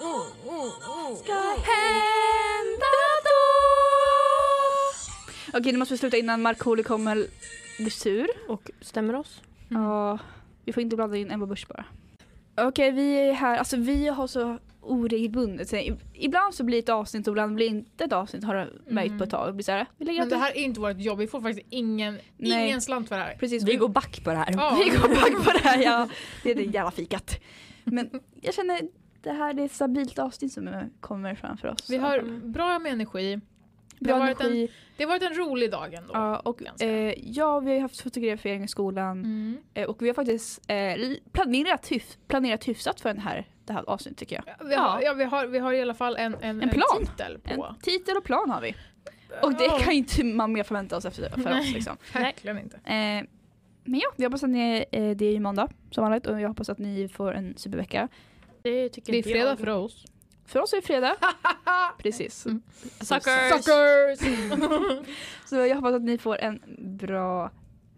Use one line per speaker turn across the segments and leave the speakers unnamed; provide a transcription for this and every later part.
Ska hända då?
Okej, nu måste vi sluta innan Markoolio kommer blir sur.
Och stämmer oss.
Ja,
Mm.
vi får inte blanda in Ebba Busch bara. Okej, vi är här. Alltså vi har så oregelbundet. Så i- Ibland så blir det ett avsnitt och ibland blir det inte ett avsnitt. Har det varit på ett tag. Det blir så här, vi lägger
Mm. Men
upp
det
det
här är inte vårt jobb, vi får faktiskt ingen,
Nej.
ingen slant för det här.
Precis,
Vi går back på det här.
Ja.
vi går back på det här. Ja, det är det jävla fikat. Men jag känner det här är ett stabilt avsnitt som kommer framför oss.
Vi har bra med energi. det
bra
har varit
energi.
Det har varit en rolig dag ändå.
Ja, och,
ganska.
eh, ja, vi har ju haft fotografering i skolan.
Mm.
Eh, Och vi har faktiskt eh, li- planerat, hyf- planerat hyfsat för den här, det här avsnittet tycker jag.
Vi, har, ja, vi, har, vi har i alla fall en, en,
En plan.
titel på.
En titel och plan har vi. Och det
Ja.
kan ju inte man mer förvänta oss efter för oss.
Nej.
Liksom.
Verkligen inte.
Eh, men ja, vi hoppas att ni, eh, det är ju måndag som vanligt och jag hoppas att ni får en supervecka.
Det tycker
Det är
inte
fredag
jag.
för oss.
För oss är det fredag. Precis.
Mm.
Suckers!
Suckers!
Så jag hoppas att ni får en bra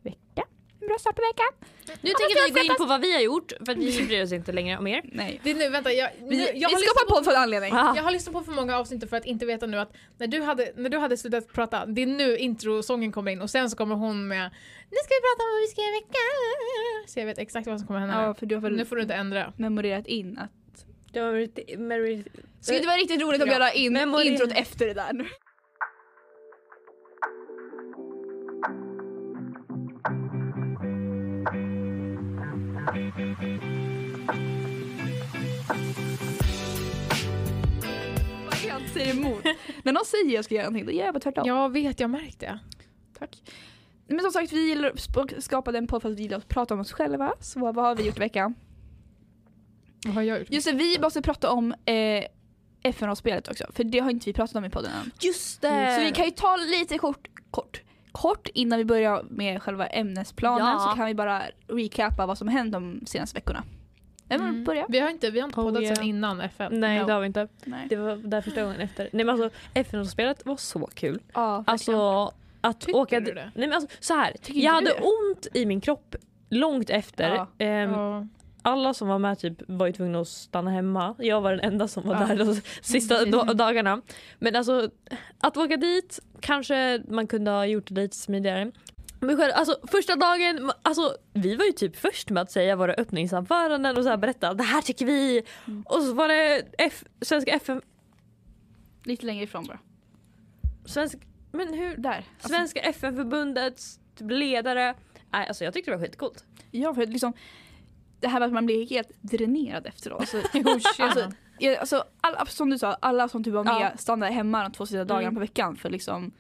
vecka. En bra start på veckan.
Nu tänker vi gå in på vad vi har gjort för att vi bryr oss inte längre om er.
Nej.
Det är nu, vänta. Jag, nu,
Vi,
jag,
vi
har
skapar
lyssnat,
podd för en anledning.
Ah.
jag har lyssnat på för många avsnitt för att inte veta nu att när du hade, när du hade slutat prata, det är nu introsången kommer in och sen så kommer hon med Nu ska vi prata om vad vi ska göra i veckan. Så jag vet exakt vad som kommer hända.
Ja, för du har
nu
väl
får du inte ändra.
memorerat in att...
Det var riktigt- Mary-
Skulle det vara riktigt roligt om
Ja.
jag la in
Memorerat.
introt efter det där nu? Jag helt säger emot. När någon säger jag ska göra någonting då gör jag bara tvärtom.
Jag vet, jag märkte det.
Tack. Men som sagt, vi gillar- sp- skapade en podd för att vi gillar att prata om oss själva. Så vad har vi gjort i veckan?
Vad har jag gjort?
Just det, vi måste prata om eh, FN-rollspelet också. För det har inte vi pratat om i podden än.
Just
Mm, Så vi kan ju ta lite kort, kort, kort innan vi börjar med själva ämnesplanen
Ja.
så kan vi bara recapa vad som hänt de senaste veckorna. Vem vill
Mm.
börja?
Vi har inte, vi har inte
Oh,
poddat
yeah.
sen innan FN.
Nej
Ja.
det har vi inte.
Nej.
Det var där första gången efter. Nej men alltså FN-spelet var så kul.
Ja, verkligen.
Alltså att
Tycker
åka...
du det?
Nej men alltså så här.
Tycker inte
Jag hade
du det?
ont i min kropp långt efter.
Ja.
Ehm,
Ja.
Alla som var med typ var ju tvungna att stanna hemma. Jag var den enda som var
Ja.
där de sista
Precis.
da- dagarna. Men alltså att åka dit, kanske man kunde ha gjort det lite smidigare. Men själv, alltså, första dagen, alltså, vi var ju typ först med att säga våra öppningsanföranden och så här berätta det här tycker vi.
Mm.
Och så var det F- Svenska FN...
Lite längre ifrån bara.
Svensk, men hur?
Där. Alltså,
Svenska FN-förbundets typ ledare. Nej, alltså jag tyckte det var skitcoolt.
ja, för liksom, det här med att man blir helt dränerad efteråt. Alltså,
Jo, tjena.
alltså, ja, alltså alla, som du sa, alla som typ var med stannade hemma de två sista dagarna
Mm.
på veckan för liksom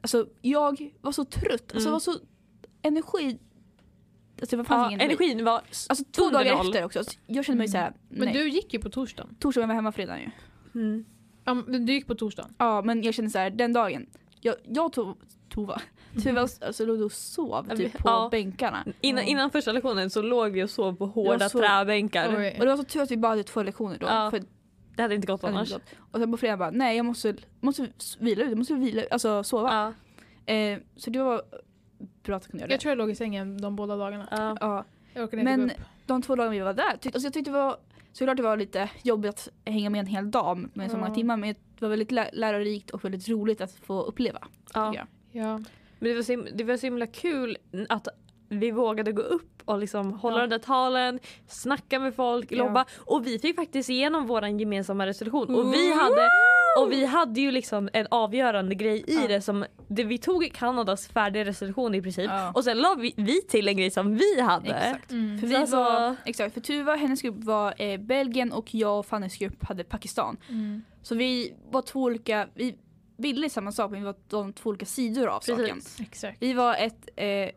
Alltså jag var så trött, alltså
Mm.
var så energi... Alltså det fanns
Ja,
ingen energi.
energin var...
Alltså två
Under
dagar
noll.
efter också. Så Jag kände mig såhär,
Men
nej.
du gick ju på torsdagen.
Torsdagen var jag hemma fredagen ju.
Mm.
Ja, men du gick på torsdagen.
Ja men jag kände såhär, den dagen. Jag, jag tog Tova. Tuva alltså, låg och sov typ på
Ja.
bänkarna.
Innan,
Ja.
innan första lektionen så låg vi och sov på hårda
Jag sov-
träbänkar.
Oj.
Och det var så tur att vi bara hade två lektioner då.
Ja,
för
Det hade inte gått annars.
Och sen på fredagen bara, nej jag måste, måste vila ut, jag måste vila, alltså sova.
Ja.
Eh, så det var bra att jag kunde göra det.
Jag tror jag låg i sängen de båda dagarna.
Ja.
Ja,
Jag orkade inte
men
gå upp.
de två dagarna vi var där, tyck, alltså jag tyckte det var såklart det var lite jobbigt att hänga med en hel dag med så många
Ja.
timmar men det var väldigt lä- lärorikt och väldigt roligt att få uppleva.
Ja.
jag.
Ja.
Men det var, så, him- det var så himla kul att vi vågade gå upp och liksom hålla de där talen, snacka med folk,
Ja.
lobba. Och vi fick faktiskt igenom vår gemensamma resolution. Och
Mm.
vi hade, och vi hade ju liksom en avgörande grej i
Ja.
det som det, vi tog Kanadas färdiga resolution i princip.
Ja.
Och sen la vi, vi till en grej som vi hade.
Exakt.
Mm.
För vi
Så alltså-
var, exakt, för Tuva, hennes grupp var eh, Belgien och jag och Fannys grupp hade Pakistan.
Mm.
Så vi var två olika, vi ville samma sak men vi var de två olika sidor av saken.
Precis.
Exakt.
Vi var ett eh,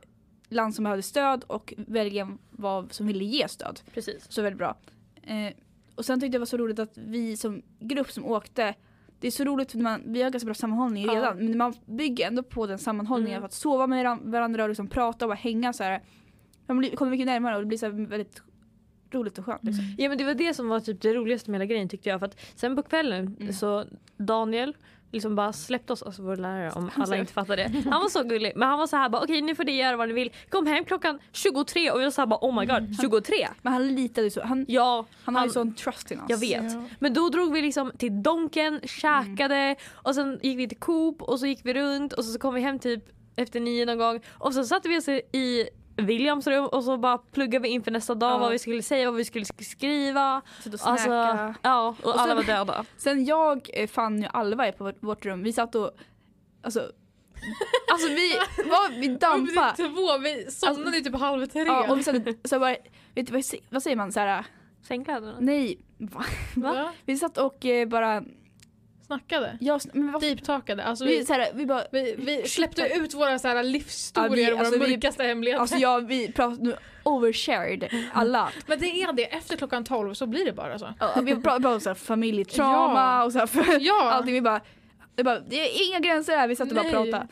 land som behövde stöd och Belgien var, som ville ge stöd.
Precis.
Så väldigt bra. Eh, och sen tyckte jag det var så roligt att vi som grupp som åkte Det är så roligt för man, vi har ganska bra sammanhållning
Ja.
redan men man bygger ändå på den sammanhållningen
Mm.
för att sova med varan- varandra och liksom prata och bara hänga så här. Man blir, kommer mycket närmare och det blir så här väldigt roligt och skönt. Liksom.
Ja men det var det som var typ det roligaste med hela grejen tyckte jag. För att sen på kvällen
Mm.
så Daniel liksom bara släppte oss, alltså vår lärare om alla
sorry.
inte fattade det. Han var så gullig men han var så här bara okej nu får ni göra vad ni vill. Kom hem klockan 23 och vi var så här bara oh my
Mm.
god 23?
Men han litade ju så, han,
Ja
han har ju
Han-
sån trust in oss.
jag vet.
Ja.
Men då drog vi liksom till Donken, käkade
Mm.
och sen gick vi till Coop och så gick vi runt och så, så kom vi hem typ efter nio någon gång och så satte vi oss i Williams rum och så bara pluggade vi inför nästa dag
Ja.
vad vi skulle säga, vad vi skulle sk- skriva.
Sitta och
Alltså,
snacka.
ja, och,
Och
alla var
sen-
döda.
Sen jag, eh, Fanny och Alva är på vårt, vårt rum, vi satt och alltså, alltså vi, vad, vi dampade.
Två, vi somnade ju typ halv tre.
Alltså- Ja, och vi satt så bara, vet du, vad, sä- vad säger man så här?
Sängkläderna?
Nej, va?
va?
Ja,
Vi satt och eh, bara,
snackade.
jag, men vad,
Deeptalkade. Alltså,
vi,
vi,
så här, vi bara,
vi, vi släppte ut våra så här, livshistorier,
Ja, vi-
våra
alltså, vi-
mörkaste hemligheter.
alltså jag, vi pratade nu overshared alla.
Men det är det, efter klockan 12 så blir det bara så.
Ja, Vi pratade om så här, familjetrauma
Ja.
och så här, för,
Ja,
allting. Vi bara, vi bara, det är inga gränser här, vi satt och bara
Nej.
pratade.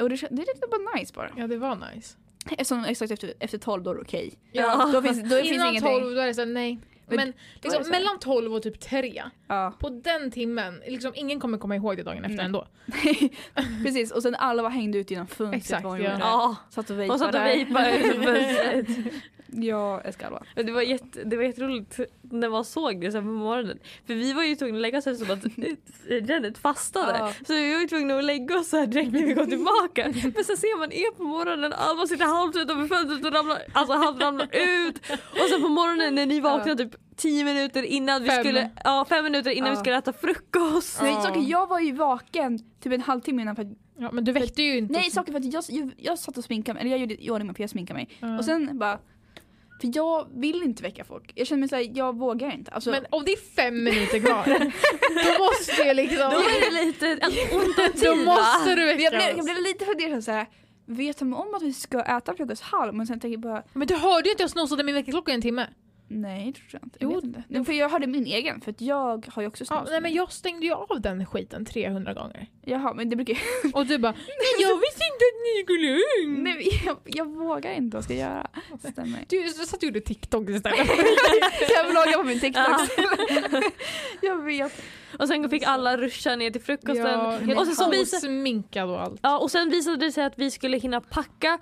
Och det, kän- det är lite bara nice bara.
ja det var nice.
Eftersom, exakt efter, efter 12 då är det okej.
Ja.
Då finns, då finns
Innan
ingenting.
12 då är det så här, nej.
Men
Men,
då är det
liksom,
så här.
mellan 12 och typ 3,
Ja.
på den timmen, liksom, ingen kommer komma ihåg det dagen efter
Nej.
ändå.
Precis, och sen alla var hängde ut genom fönstret.
Exakt,
vad hon
ja.
gjorde.
Ja,
Satt och
och satt och
vejpade.
vejpade utomhus.
Ja, jag ska Alva.
Men Det var, jätte, det var jätteroligt när man såg det så här på morgonen. För vi var ju tvungna att lägga oss eftersom att eh, Janet fastade.
Ja.
Så vi var ju tvungna att lägga oss så här direkt när vi kom tillbaka. Men sen ser man er på morgonen, Alva sitter halvt utanför fönstret och ramlar, alltså halvt ramlar ut. Och sen på morgonen när ni vaknade typ tio minuter innan vi
Fem.
skulle, ja fem minuter innan
Ja.
vi skulle äta frukost.
Nej,
Ja.
saker, jag var ju vaken typ en halvtimme innan för att,
Ja, men du väckte ju inte.
Nej, saker för att jag, jag, jag satt och sminkade mig, eller jag gjorde i ordning mig för jag sminkade mig.
Ja.
Och sen bara, för jag vill inte väcka folk. Jag känner mig såhär, jag vågar inte. Alltså,
Men om det är fem minuter kvar, då måste ju liksom...
Då är det lite alltså, ont om
Då
tid va?
måste du väcka
jag, blev, jag
oss.
blev lite fundersam såhär, vet de om att vi ska äta frukost halv? Men sen tänker jag bara,
Men du hörde ju att jag snosade min väckarklocka i en timme.
nej det tror jag inte. Jag
Jo,
vet inte. Nej, för jag hörde min egen, för att jag har ju också
Ja,
snus.
nej men jag stängde ju av den skiten 300 gånger.
Jaha, men det brukar
Och du bara Nej jag visste inte att ni skulle ung.
Nej, men jag, jag vågar inte vad ska jag göra. Stämmer.
Du så satt och gjorde TikTok istället.
Jag vloggar på min TikTok.
Ja.
jag vet.
Och sen fick alla ruscha ner till frukosten.
helt
och sen så visade,
osminkad och allt.
Ja, och sen visade det sig att vi skulle hinna packa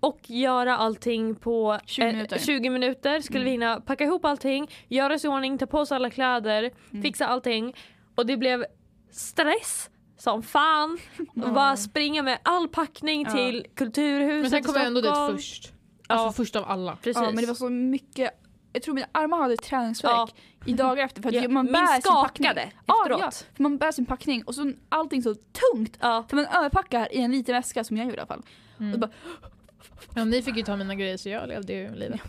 och göra allting på
20 minuter. Mm.
20 minuter. Skulle vi hinna packa ihop allting, göra oss i ordning, ta på oss alla kläder,
Mm.
fixa allting. Och det blev stress som fan. Bara springa med all packning
Ja.
till Kulturhuset
Men sen
i
kom jag ändå dit
Stockholm.
först.
Ja.
Alltså först av alla.
Precis.
Ja, men det var så mycket. Jag tror mina armar hade träningsvärk
Ja.
i dagar efter. För att
Ja,
man
min
bär sin packning.
skakade
Ja,
efteråt.
ja, för man bär sin packning och så allting så tungt.
Ja.
För man överpackar i en liten väska som jag gjorde i alla fall.
Mm. Ja, ni fick ju ta mina grejer så jag levde ju livet.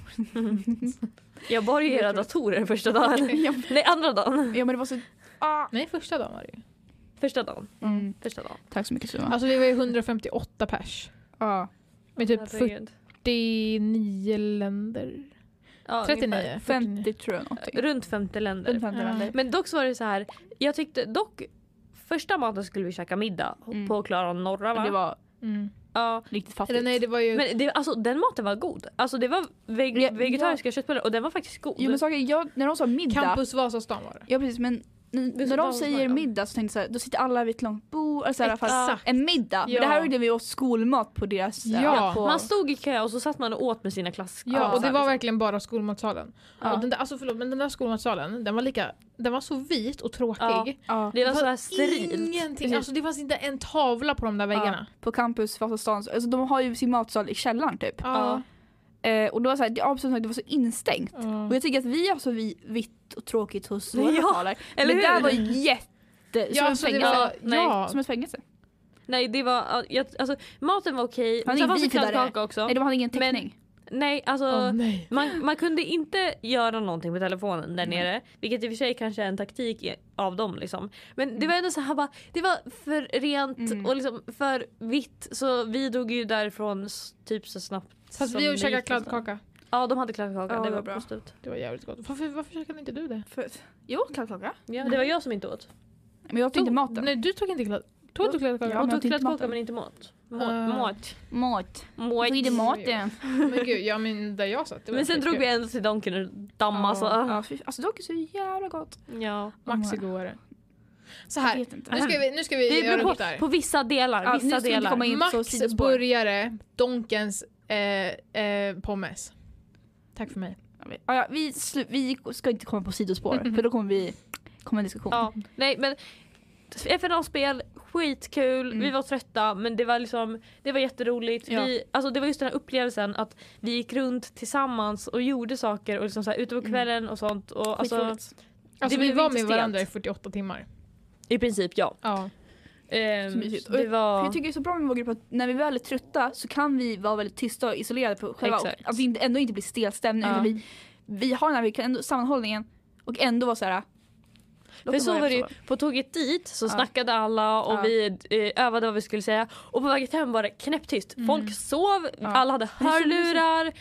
Jag bar ju era datorer första dagen.
Ja,
Nej, andra dagen.
men det var så... Ah.
Nej första dagen var det ju.
Första dagen.
Mm.
Första dagen.
Tack så mycket Suma.
Alltså vi var ju 158 pers.
Ja.
Med typ
Herregud.
49 länder.
Ja,
39.
50 tror jag någonting.
ungefär. Runt 50 länder.
Runt 50
Ja.
länder.
Men dock så var det så här. Jag tyckte dock första maten skulle vi käka middag
Mm.
på Klara Norra va?
Det var
Mm.
Ja.
riktigt fattigt.
Eller nej det var ju...
Men det, alltså, den maten var god. Alltså det var veg-
Ja,
vegetariska köttbullar och den var faktiskt god.
Jo men saker, jag, när de sa middag.
Campus Vasastan var det.
Ja precis men n-
är så
när de
dagens
säger
vardag.
middag så tänkte jag så här, då sitter alla vid ett långt bord. Eller så här, fast
Exakt.
en middag. Men
Ja.
det här gjorde vi åt skolmat på deras... så här,
Ja.
på,
Man stod i kö och så satt man och åt med sina klasskompisar.
Ja,
Ja,
och det
liksom.
var verkligen bara skolmatsalen.
Ja.
Och den där, alltså förlåt, men den där skolmatsalen, den var, lika, den var så vit och tråkig.
Ja,
ja,
det var så här
fanns
sterilt.
Ingenting, alltså det fanns inte en tavla på de där väggarna.
på campus Vasastan. Så- Alltså, de har ju sin matsal i källaren typ.
Ja.
Eh, och då var så här, det, ja, som sagt, det var så instängt.
Ja.
Och jag tycker att vi har så vi, vitt och tråkigt hos
Ja,
våra lokaler.
eller
men där
hur?
var ju jätte...
Ja,
som, ett
alltså, det
fängelse.
var,
Nej,
ja.
som ett fängelse.
Nej det var, ja, jag, alltså maten var okej. Men
Han är
sen fanns det
vidare.
kladdkaka också.
Nej de hade ingen
Men-
täckning.
Nej alltså.
Åh, nej.
Man, man kunde inte göra någonting på telefonen där
Nej.
nere. Vilket i och för sig kanske är en taktik i- av dem. Liksom. Men det var ändå så här bara, det var för rent
Mm.
och liksom för vitt. Så vi drog ju därifrån s- typ så snabbt
Fast
som
vi
det
har ju käkat
gick nästan.
kladdkaka.
Ja de hade kladdkaka,
Ja,
det
det
var
var bra.
positivt.
Det var jävligt gott. Varför, varför käkade inte du det?
För, jo, kladdkaka.
Ja, det var jag som inte åt.
Men jag tog inte maten.
Nej, du tog inte kladd... Tog du kladdkaka?
Ja,
Hon
men
tog
jag tyckte
kladdkaka
maten-
men inte mat. Må-
Ah.
Mat.
Mat.
Mat.
Vad är det maten?
Men gud, ja men där jag satt. det var
Men sen
skitkul.
drog vi ändå till Donken och damm alltså.
Ja, fy- alltså dock är så jävla gott.
Ja.
Max är godare. Så
Jag
här,
vet inte.
nu ska vi, nu ska vi
Det
göra
beror
upp
på,
det här.
på vissa delar.
Ja, nu
vissa
ska vi inte
delar.
komma in på
Max
sidospår.
burgare, Donkens eh, eh, pommes. Tack för mig.
Ja, ja, vi, slu- vi ska inte komma på sidospår för då kommer vi komma i en diskussion.
Ja, nej men FNA-spel, skitkul,
Mm.
vi var trötta men det var liksom Det var jätteroligt.
Ja.
Vi, alltså det var just den här upplevelsen att vi gick runt tillsammans och gjorde saker och liksom så här, ute på
Mm.
kvällen och sånt. Och alltså,
Skitroligt.
Alltså
Det
vi
blev
var
inte
med
stelt.
varandra i 48 timmar.
I princip ja.
Ja.
Ehm,
Så mysigt.
det
För
var...
jag tycker det är så bra med vår grupp att när vi väl är trötta så kan vi vara väldigt tysta och isolerade på själva och
Exakt.
att vi inte- ändå inte blir stel stämning.
Ja.
utan Vi, vi har den här vi kan ändå, sammanhållningen och ändå vara såhär.
För så var det ju, på tåget dit så
Ja.
snackade alla och
Ja.
vi eh, övade vad vi skulle säga och på vägen hem var det knäpptyst. Folk sov,
Mm. Ja.
alla hade
det är så mysigt.
hörlurar.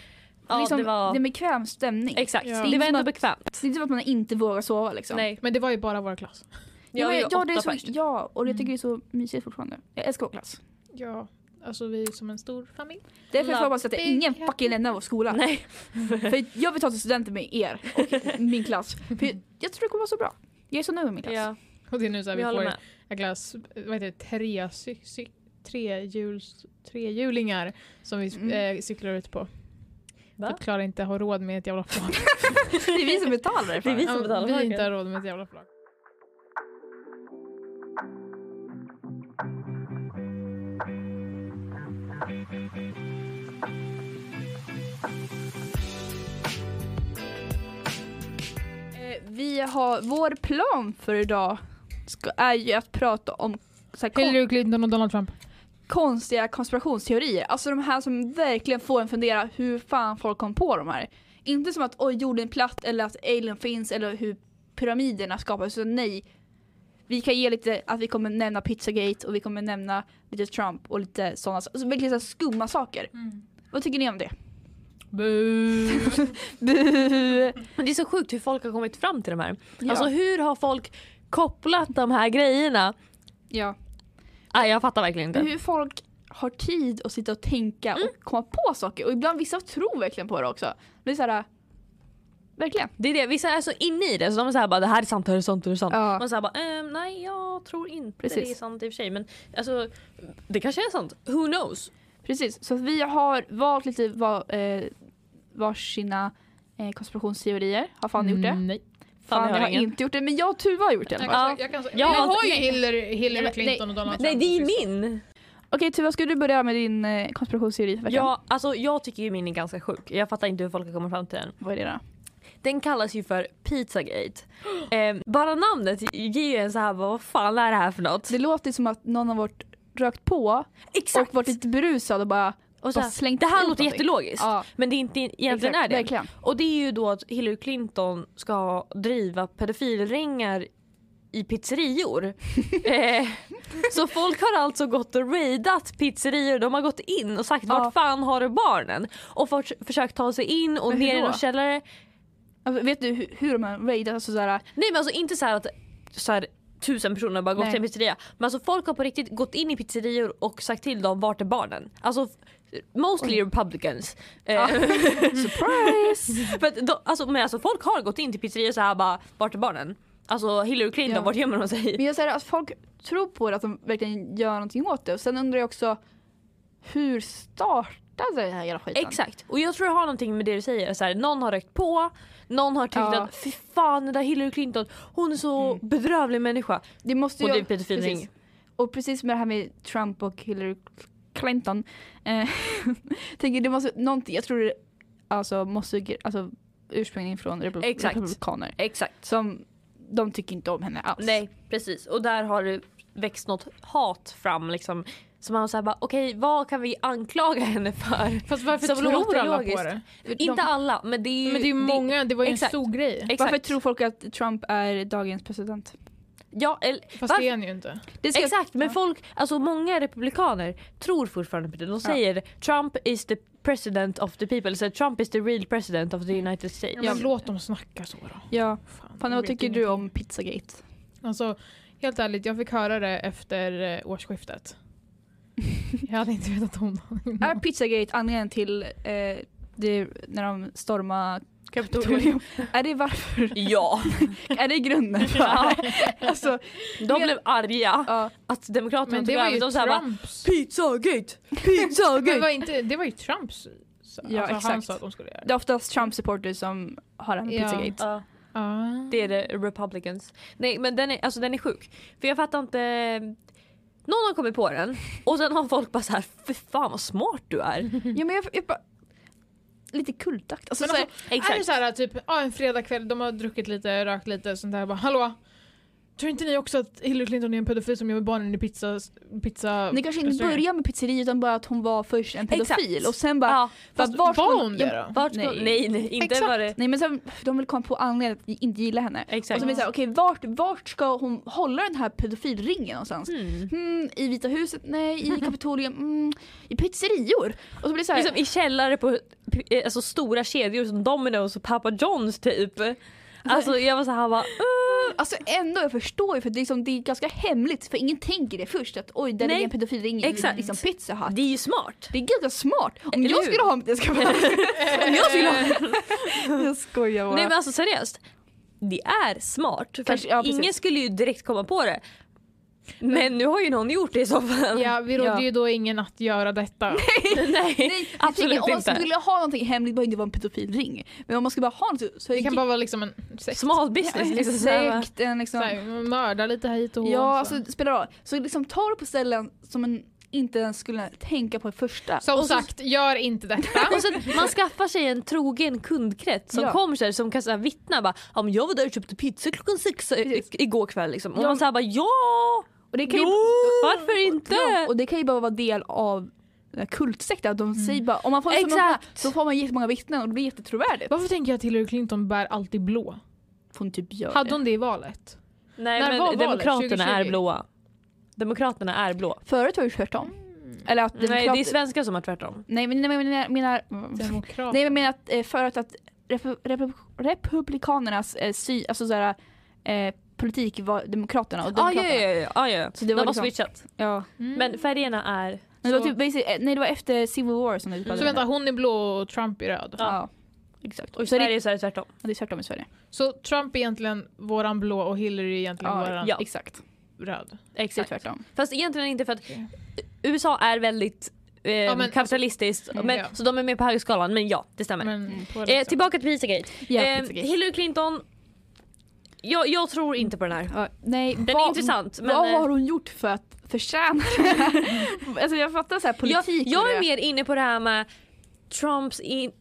Ja,
liksom,
det var...
är en bekväm stämning.
Exakt,
Ja. Det är
det
inte
var
som
ändå
att-
bekvämt.
det är inte som att man inte vågar sova liksom.
Nej.
Men det var ju bara vår klass.
Ja,
var ju
men- ja, det är
åtta
så,
pers. typ. Mm.
ja, och jag tycker det är så mysigt fortfarande. Jag älskar vår klass.
Ja, alltså vi är som en stor familj.
Därför får
Love
jag bara säga att ingen
big happy-
fucking lämnar vår skola.
Nej.
För jag vill ta till studenten med er och min klass. För jag, jag tror det kommer vara så bra. Jag är så nöjd med min klass.
Ja,
Och det är nu så här, vi
vi håller
får
med.
en glass, vad heter det, tre, cy, cy, tre, hjuls, tre hjulingar som vi
Mm.
eh, cyklar ut på.
Va?
För att Klara inte har råd med ett jävla flak.
Det är vi som betalar det.
Det är
fan.
vi som
Ja,
betalar
vi
för
inte
det.
har råd med ett jävla flak.
Eh, Vi har, vår plan för idag ska, är ju att prata om så här, kon,
Hillary Clinton och Donald Trump.
konstiga konspirationsteorier. Alltså de här som verkligen får en fundera hur fan folk kom på de här. Inte som att oj jorden är platt eller att alien finns eller hur pyramiderna skapas. Utan nej. Vi kan ge lite att vi kommer nämna pizzagate och vi kommer nämna lite Trump och lite sådana alltså, verkligen så här skumma saker. Vad tycker ni om det?
Boo.
Bu!
Men det är så sjukt hur folk har kommit fram till de här.
Ja.
Alltså hur har folk kopplat de här grejerna?
ja.
Nej, jag fattar verkligen inte.
Hur folk har tid att sitta och tänka
Mm.
och komma på saker. Och ibland vissa tror verkligen på det också. Det är så här, äh, verkligen.
Det är det. Vissa är så inne i det så de är såhär bara det här är sant, det här är sant, det här är sant.
Ja.
Man säger bara ehm, nej jag tror inte det är
Precis.
sant i och för sig men alltså det kanske är sant. Who knows?
Precis, så att vi har valt lite var, eh, varsina eh, konspirationsteorier. Har Fanny gjort det?
Nej.
Fanny
Fanny
har
har
ingen.
inte gjort det, men jag och Tuva har gjort det. i alla
Jag,
fall.
Ja.
kan, jag, kan,
Jag
jag
har-
har ju Hillary,
Nej,
Hillary
men-
Clinton och Donald
Nej
Trump.
det är min!
Okej Tuva, ska du börja med din eh, konspirationsteori för veckan?
Ja, alltså, jag tycker ju min är ganska sjuk. Jag fattar inte hur folk har kommit fram till den.
Vad är det då?
Den kallas ju för Pizzagate. Eh, bara namnet ger ju en så här vad fan är det här för något?
Det låter som att någon har varit rökt på
Exakt!
och varit lite berusad och bara,
Och så
bara
här,
slängt
det här låter
ut någonting.
jättelogiskt.
Ja,
Men det är inte egentligen
exakt,
är det.
Verkligen.
Och det är ju då att Hillary Clinton ska driva pedofilringar i pizzerior. eh, så folk har alltså gått och raidat pizzerior. De har gått in och sagt
Ja.
vart fan har du barnen? Och fått, försökt ta sig in och
Men hur
ner i
då?
någon källare.
Alltså, vet du hur, hur de har raidat? Alltså, så här,
Nej men alltså inte så här att så här, tusen personer har bara gått
Nej.
till en pizzeria. Men alltså folk har på riktigt gått in i pizzerior och sagt till dem vart är barnen? Alltså f- mostly republicans. Eh,
surprise!
för att de, alltså, men alltså folk har gått in till pizzerior så här bara vart är barnen? Alltså Hillary Clinton
Ja.
vart gömmer hon sig?
Men jag säger att folk tror på det, att de verkligen gör någonting åt det. Och sen undrar jag också, hur startade den här hela skiten?
Exakt och jag tror det har någonting med det du säger. Så här, någon har rökt på, någon har tyckt
Ja.
att fy fan den där Hillary Clinton hon är så bedrövlig människa.
Det måste
Och
ju...
det är pedofilring.
precis. Och precis med det här med Trump och Hillary Clinton. Eh, tänker det måste, någonting, jag tror det alltså, måste alltså, ursprungligen från repub-
Exakt.
republikaner.
Exakt.
Som de tycker inte om henne alls.
Nej precis och där har det växt något hat fram liksom. Så man säger bara okej vad kan vi anklaga henne för?
Fast varför
Som
tror
låter
alla
logiskt.
på det?
De-
Inte alla men det är ju,
Men det är ju många, det var ju
exakt.
en stor grej.
exakt.
Varför tror folk att Trump är dagens president?
ja, eller,
Fast
varför-
det är han ju inte.
Det ska-
Exakt men
Ja.
folk, alltså många republikaner tror fortfarande på det. De säger Trump is the president of the people. Så Trump is the real president of the United States.
Ja, men låt dem snacka så då.
Ja.
Fan,
Fanny,
de
vad
vet
tycker
ingenting.
du om Pizzagate?
Alltså, Helt ärligt, jag fick höra det efter eh, årsskiftet. jag hade inte vetat om det. innan.
Är Pizzagate anledningen till eh, det, när de stormar Kapitolium? är det varför?
Ja,
Är det grunden? för allt? alltså,
de blev arga
ja.
att demokraterna
Men
tog
det var
över.
ju
De såhär bara
Trumps.
Pizzagate!
Men det var,
Pizzagate!
inte, det var ju Trumps. så-
Ja,
alltså, han
exakt.
sa att de skulle göra det.
Det är oftast Trump-supporters som har en
Ja.
Pizzagate.
Ja,
Ah.
det är det Republicans. Nej men den är, alltså, den är sjuk. För jag fattar inte. Någon har kommit på den och sen har folk bara så här, fy fan vad smart du är.
Ja, men jag, jag bara, lite kultakt. Alltså,
Mm. Men
såhär,
Är det
Exakt.
så här typ, ja en fredagkväll, de har druckit lite, rökt lite, sånt där bara hallå? Tror inte ni också att Hillary Clinton är en pedofil som gör med barnen i pizza... pizza
ni kanske inte
restauranger?
börjar med pizzeri utan bara att hon var först en pedofil
Exakt.
och sen bara...
Ja,
Fast
Fast vart
var
hon-
hon det då?
vart ska,
Nej.
nej. nej inte
Exakt.
var det.
Nej men sen, de vill komma på anledningen att inte gilla henne. Och
Exakt.
så blir det såhär, okej vart, vart ska hon hålla den här pedofilringen någonstans?
Mm.
Hmm, I Vita huset? Nej. I Kapitolium? Mm, I pizzerior? Och så blir det såhär,
Liksom I källare på eh, alltså, stora kedjor som Domino's och Papa John's typ. Alltså jag var så här bara
alltså ändå jag förstår ju för det är, liksom, det är ganska hemligt för ingen tänker det först att oj där
Nej.
ligger en pedofilring i
Exakt.
liksom Pizza Hut.
det är ju smart.
Det är ganska smart. Om
Eller
jag
hur?
skulle ha det ska jag Om jag skulle ha Jag skojar bara.
Nej men alltså seriöst. Det är smart. För
Kanske-
att
ja, precis.
ingen skulle ju direkt komma på det. Men nu har ju någon gjort det i så fall.
Ja, vi rådde
Ja.
ju då ingen att göra detta.
Nej,
Nej, jag
absolut
tänker, om man
inte.
skulle ha någonting hemligt behöver det inte vara en pedofilring. Men om man skulle bara ha något så- så
Det kan bara vara liksom en sekt.
Smal business. Liksom, så här, va?
Sekt, en liksom...
Så här, mörda lite hit och hå,
Ja,
så.
alltså det spelar roll. Så liksom ta det på ställen som man inte ens skulle tänka på i första.
Som
Och så-
sagt, gör inte detta.
Och sen, man skaffar sig en trogen kundkrets som
Ja.
kommer så här, som kan så här, vittna bara om jag var där och köpte pizza klockan sex eh, i-
Precis.
igår kväll liksom. Och
Ja.
man säger bara ja!
Och det kan ju,
Jo! Varför inte?
Ja, och det kan ju bara vara del av den här kultsekten. att De säger bara, om man får så
Mm. Exakt.
många, så får man jättemånga vittnen och det blir jättetrovärdigt.
Varför tänker jag att Hillary Clinton bär alltid blå?
Får hon typ göra
Hade
det?
hon det i valet?
Nej
När
men
var valet?
demokraterna
2020?
är blåa. Demokraterna är blå.
Förut var det tvärtom.
Mm.
Eller att
Nej det är
demokrater-
svenskar som har tvärtom.
Nej men jag menar, menar, menar Nej
Demokrat.
men jag menar att eh, förut att repu- repu- republikanernas eh, sy, alltså såhär, eh, politik var demokraterna och
Ah, ja,
demokraterna.
ja, ja, ja, ja.
Så det var
De har
liksom-
switchat.
Ja.
Mm.
Men färgerna är...
Men det var
Så-
typ, basic, eh, nej det var efter Civil War som det
Så vänta, hon är blå och Trump är röd.
Ja. Exakt.
Och i
så det,
Sverige så är det tvärtom.
det är tvärtom i Sverige.
Så Trump är egentligen våran blå och Hillary är egentligen våran
Ja.
exakt.
röd.
Det är
Exakt.
tvärtom.
Fast egentligen inte för att
Okej.
USA är väldigt eh,
men-
kapitalistiskt.
Mm,
men,
ja.
Så de är med på högskalan. Men ja, det stämmer.
Men
Mm.
på
eh,
liksom.
tillbaka till Pizzagate.
Ja,
eh,
Pizzagate.
Hillary Clinton. Jag, jag tror inte på den här.
Ja, nej,
Den är
vad-
intressant. Men,
vad
eh,
har hon gjort för att förtjäna det här? Alltså jag fattar såhär
jag,
politik. och
jag
det.
är mer inne på det här med Trumps in,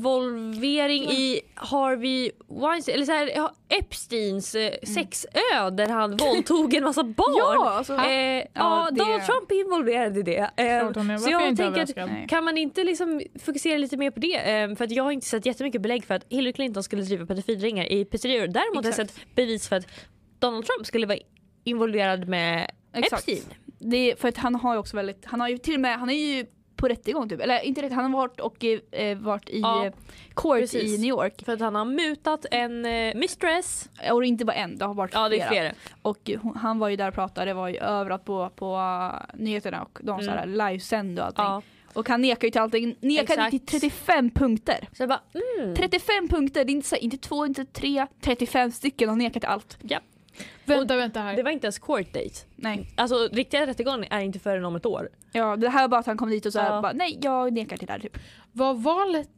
involvering i Harvey Weinstein, eller så här, ja, Epsteins eh, sexö där han våldtog en massa barn.
Mm. Ja, alltså,
Eh, ja,
det-
Donald Trump är involverad i det. Eh,
Klart hon är.
så
Varför är jag
jag
inte
tänker att
överraskad?
Nej.
kan man inte liksom fokusera lite mer på det? Eh, för att jag har inte sett jättemycket belägg för att Hillary Clinton skulle driva pedofilringar i pizzerior. Däremot har jag
Exakt.
sett bevis för att Donald Trump skulle vara involverad med
Exakt.
Epstein.
Det är för att han har ju också väldigt, han har ju till och med, han är ju på rättegång typ. Eller inte rätt, han har varit och eh, varit i
Ja,
eh, court
precis.
i New York.
För att han har mutat en eh, mistress.
Och det inte bara en, det har varit
Ja det är
flera.
flera.
Och hon, han var ju där och pratade, det var ju överallt på, på eh, nyheterna och de så här livesände och allting.
Mm. Ja.
Och han nekar ju till allting, nekade
Exakt.
till 35 punkter.
Så jag bara mm.
35 punkter, det är inte, så här, inte två, inte tre, 35 stycken och nekar till allt.
Vänta, vänta här.
Det var inte ens court date.
Nej.
Alltså riktiga rättegången är inte förrän om ett år.
Ja, det här var bara att han kom dit och sa
Ja.
bara, nej jag nekar till det här typ.
Var valet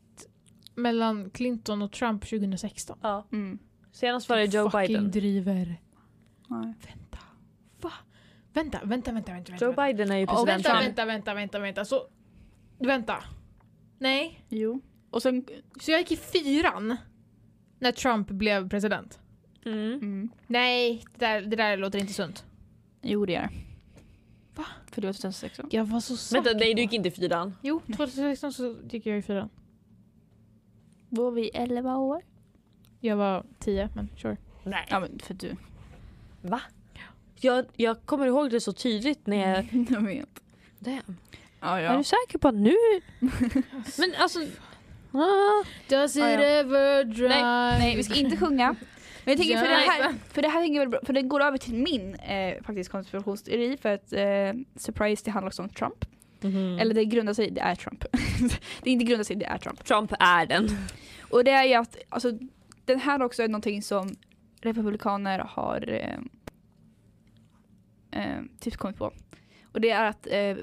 mellan Clinton och Trump 2016?
Ja.
Mm.
Senast var det Joe
Fucking
Biden.
driver.
Nej.
Vänta. Va? Vänta, vänta, vänta, vänta.
Joe
vänta.
Biden är ju
Och
president.
vänta,
Trump.
vänta, vänta, vänta, vänta. Så, vänta. Nej.
Jo. Och sen,
Så jag gick i fyran när Trump blev president?
Mm.
mm.
Nej, det där, det där låter inte sunt.
Jo det är det.
Va?
För det var 2016.
Jag var så säker
Vänta nej du
på-
gick inte i fyran.
Jo, 2016 så gick jag i fyran.
Då var vi 11 år.
Jag var tio, men sure.
Nej.
Ja men för du.
Jag, jag kommer ihåg det så tydligt när jag...
Jag vet.
Damn.
Ja,
Är
ja.
du säker på att nu... Men alltså... Ah.
Does it
Ah, ja.
ever drive?
Nej vi ska inte sjunga. Men jag tänker för,
Ja,
det här,
exakt.
för det här tänker jag väl, för det går över till min eh, faktiskt konspirationsteori för att eh, surprise det handlar också om Trump.
Mm-hmm.
Eller det grundar sig, det är Trump. det är inte grundar sig, det är Trump.
Trump är den.
Och det är ju att, alltså den här också är någonting som republikaner har eh, eh, typ kommit på. Och det är att eh,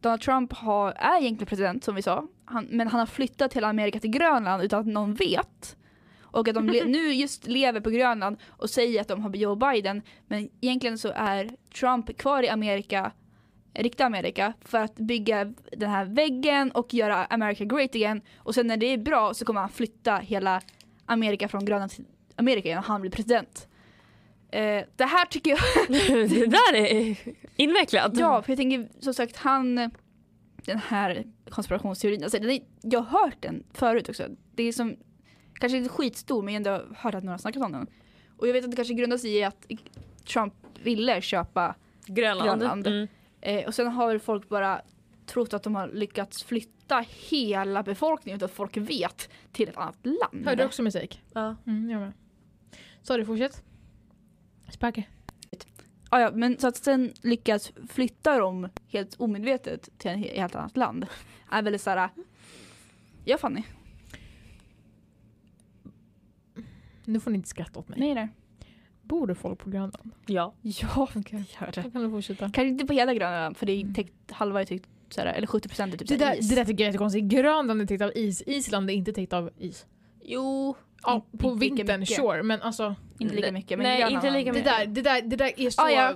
Donald Trump har, är egentligen president som vi sa, han, men han har flyttat hela Amerika till Grönland utan att någon vet. Och att de le- nu just lever på Grönland och säger att de har Joe Biden men egentligen så är Trump kvar i Amerika, riktiga Amerika, för att bygga den här väggen och göra America great igen. Och sen när det är bra så kommer han flytta hela Amerika från Grönland till Amerika igen och han blir president. Eh, det här tycker jag
det där är invecklat.
Ja, för jag tänker som sagt han, den här konspirationsteorin, alltså, den är, jag har hört den förut också. Det är som, kanske inte skitstor men jag har ändå hört att några har snackat om den. Och jag vet att det kanske grundar sig i att Trump ville köpa
Grönland.
Grönland.
Mm.
eh, och sen har väl folk bara trott att de har lyckats flytta hela befolkningen utan att folk vet till ett annat land.
Hörde du också musik?
Ja.
Mm, jag med. Sorry, fortsätt. Sparker.
Ja, ja, men så att sen lyckas flytta dem helt omedvetet till ett helt annat land är väldigt såhär, ja Fanny.
Nu får ni inte skratta åt mig.
Nej nej.
Bor det folk på Grönland?
ja.
Ja,
Okej.
gör
Då kan du fortsätta.
Kanske inte på hela Grönland för det är täckt, halva är täckt såhär, eller 70 procent är typ
Det
såhär
där,
is.
det där tycker jag är jättekonstigt. Grönland är täckt av is, Island är inte täckt av is.
Jo,
Ja,
Inte-
på
inte lika
vintern,
mycket.
sure. Men alltså,
inte lika mycket. Men
Nej,
Grönland,
inte lika
det
mycket.
där, det där, det där är så
Ah, ja.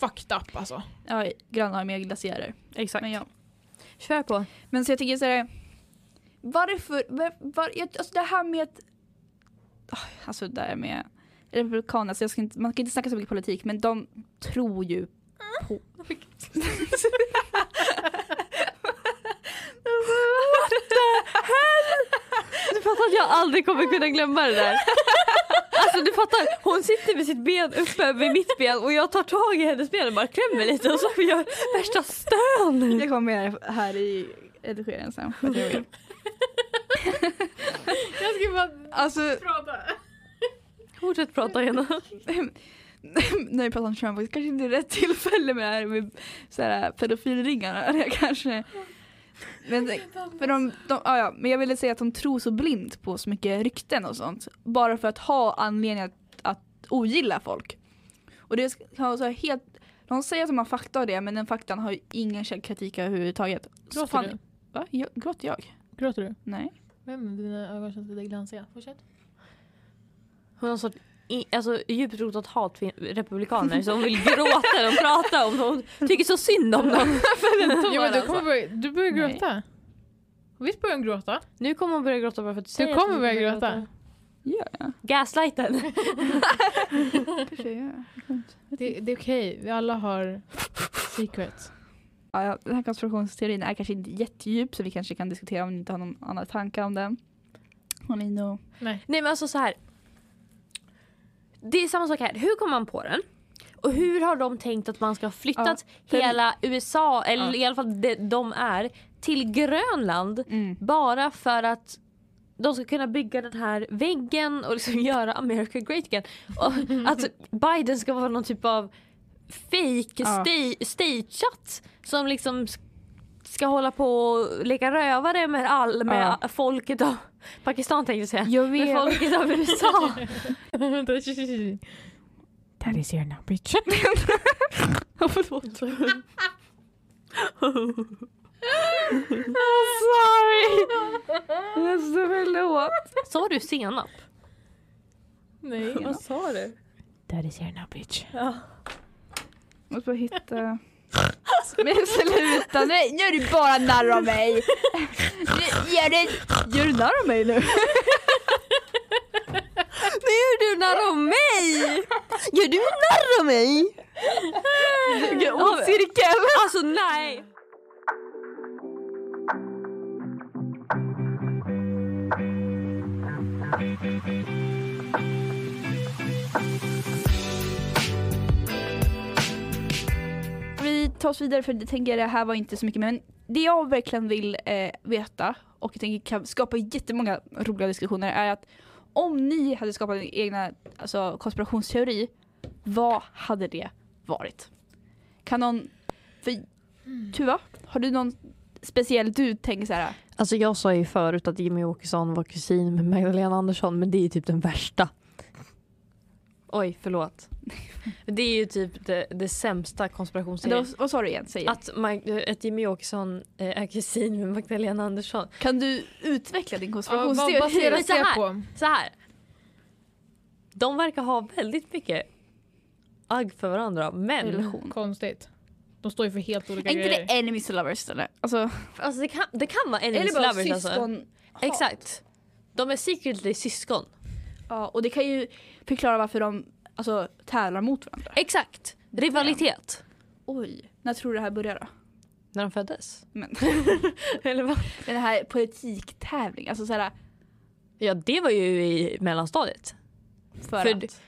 fucked up alltså.
Ja, Grönland har mer glaciärer.
Exakt.
Men, ja.
Kör på.
men så jag tycker såhär, varför, var, var, jag- alltså det här med att, Ah, alltså det där med republikaner, alltså jag ska inte, man ska inte snacka så mycket politik men de tror ju på...
Du fattar att jag aldrig kommer kunna glömma det där. Alltså du fattar, hon sitter med sitt ben uppe vid mitt ben och jag tar tag i hennes ben och bara klämmer lite och så får jag värsta stön.
Jag kommer här i redigeringen sen. för att jag vill.
Jag ska bara
Alltså
prata.
Fortsätt prata Jenna.
när vi pratar om Trump, det kanske inte är rätt tillfälle med det här med såhär, pedofilringarna. eller kanske. Men, för de, de, ja, ja, men jag ville säga att de tror så blint på så mycket rykten och sånt. Bara för att ha anledning att, att ogilla folk. Och det kan vara så här helt, de säger att de har fakta av det men den faktan har ju ingen källkritik överhuvudtaget. Så
Gråter
fan-
du?
Va? Jag, gråter jag?
Gråter du?
Nej.
Men dina ögon känns lite glansiga. Fortsätt.
Hon har en sorts i- alltså, djupt rotat hat för republikaner så hon vill gråta när hon pratar om dem. Hon tycker så synd om dem.
Jo, men du
alltså.
kommer börja, du börjar
Nej.
gråta. Visst börjar hon gråta?
Nu kommer hon börja gråta bara för att du säger att
kommer
hon
börja
börjar
gråta.
Gör jag?
Gaslighten.
Kanske jag gör.
Det, det är okej, vi alla har secrets.
Ja, ja, den här konspirationsteorin är kanske inte jättedjup så vi kanske kan diskutera om ni inte har någon annan tanke om den. Har ni nog...
Nej.
Nej men alltså så här. Det är samma sak här. Hur kom man på den? Och hur har de tänkt att man ska ha flyttat
för-
hela USA, eller
Ja.
i alla fall det de är, till Grönland
Mm.
bara för att de ska kunna bygga den här väggen och liksom göra America great again. Och att Biden ska vara någon typ av fake
Ja.
sta- stageat som liksom s- ska hålla på och leka rövare med, all, med folket av Pakistan tänkte jag säga.
Jag
Med
vet.
folket av USA.
Vänta, That is your now bitch.
Sorry! Jag är så förlåt.
Sa du senap?
Nej.
Vad
sa du?
That is your now bitch.
Jag måste bara hitta... Men sluta, nej, nu är du bara narr av mig! Nu- Gör du, gör du narr av mig nu?
Nu är du narr om mig! Gör du narr om mig?
Vilken ond cirkel!
Alltså nej!
Vi tar oss vidare för det tänker jag det här var inte så mycket men det jag verkligen vill eh, veta och jag tänker kan skapa jättemånga roliga diskussioner är att om ni hade skapat en egna alltså, konspirationsteori, vad hade det varit? Kan någon... För,
Mm.
Tuva, har du någon speciell du tänker så här?
Alltså jag sa ju förut att Jimmy Åkesson var kusin med Magdalena Andersson men det är ju typ den värsta. Oj, förlåt. Det är ju typ det, det sämsta konspirationsserien.
Då, vad sa du igen? Säg igen.
Att, Mag- att Jimmy Åkesson eh, är kusin med Magdalena Andersson.
Kan du utveckla din
Ja,
konspirationsteori?
vad baseras
så
det
här.
på?
Så här. De verkar ha väldigt mycket agg för varandra men
relation?
Konstigt. De står ju för helt olika
Är inte
grejer.
det enemies to lovers eller? Alltså,
alltså, det, kan, det kan vara
eller
enemies
bara
lovers alltså.
syskon?
Exakt. De är secretly syskon.
Ja, och det kan ju förklara varför de alltså, tävlar mot varandra.
Exakt. Rivalitet.
Oj, när tror du det här börjar då?
När de föddes.
Men,
Eller vad?
den här politiktävlingen, alltså såhär
Ja det var ju i mellanstadiet.
för,
För-
att...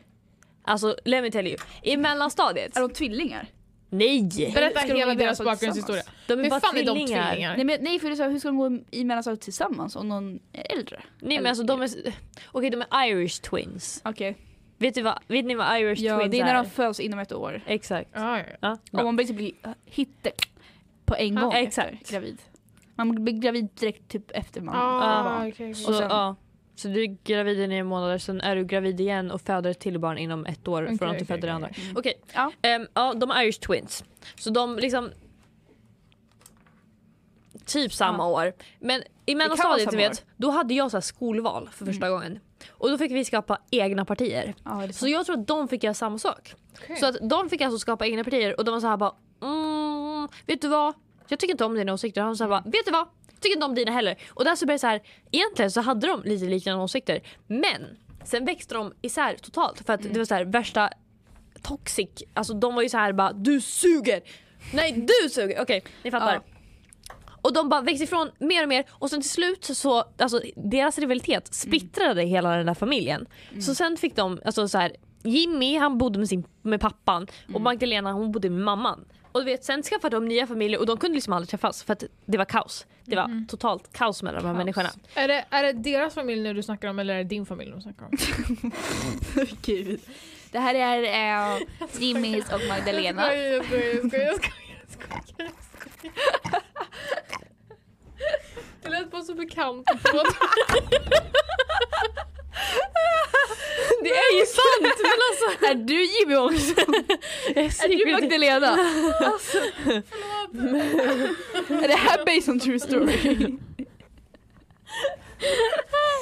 Alltså let me tell you. I mellanstadiet.
Är de tvillingar?
Nej!
Berätta
Ska de
hela
vara
deras
tillsammans?
bakgrundshistoria.
De är
Hur
bara
fan är de
tvillingar.
tvillingar?
Nej, men, nej för det är så här, hur ska de gå i mellanstadiet tillsammans om någon är äldre?
Nej men alltså de är... Okej de är Irish twins.
Okej.
Vet, du vad, vet ni vad Irish
Ja,
twins
det är när de föds inom ett år.
Exakt.
Ja, ja.
Ja,
Och
bra.
man blir typ bli- hittar på en gång
Ja,
efter
exakt.
gravid. Man blir gravid direkt typ efter man
Ah,
Ja.
okej, okej.
Så,
och sen-
ja. så du är gravid i nio månader, sen är du gravid igen och föder ett till barn inom ett år
Okej,
från att du
okej,
födde det
okej.
andra.
Mm.
Okej,
Ja.
Ehm, ja, de är Irish twins. Så de liksom... Typ samma år. Men i mellanstadiet du
samma Mm.
vet, då hade jag så här skolval för första gången. Och då fick vi skapa egna partier.
Ja, är det
Så jag tror att de fick göra samma sak.
Okej.
Så att de fick alltså skapa egna partier och de var så här bara mm, vet du vad? Jag tycker inte om dina åsikter. Han så här bara, vet du vad? Jag tycker inte om dina heller. Och där så blev det så här, egentligen så hade de lite liknande åsikter. Men sen växte de isär totalt för att det var så här värsta toxic. Alltså de var ju så här bara, du suger! Nej du suger! Okej, ni fattar.
Ja.
Och de bara växte ifrån mer och mer och sen till slut så, alltså deras rivalitet splittrade hela den där familjen. Så sen fick de, alltså så här, Jimmy han bodde med, sin, med pappan och Magdalena hon bodde med mamman. Och du vet sen skaffade de nya familjer och de kunde liksom aldrig träffas för att det var kaos. Det var totalt Mm. kaos mellan de här
Kaos.
människorna.
Är, det, är det deras familj nu du snackar om eller är det din familj du snackar om?
Gud. Det här är eh, Jimmys och Magdalena.
Jag skojar, jag skojar, jag skojar, jag skojar, jag skojar. Det lät bara så bekant. Förlåt.
Det är ju sant! Men alltså,
Är du Jimmy också? Är du Magdalena? Alltså, förlåt. Är det här based on true story?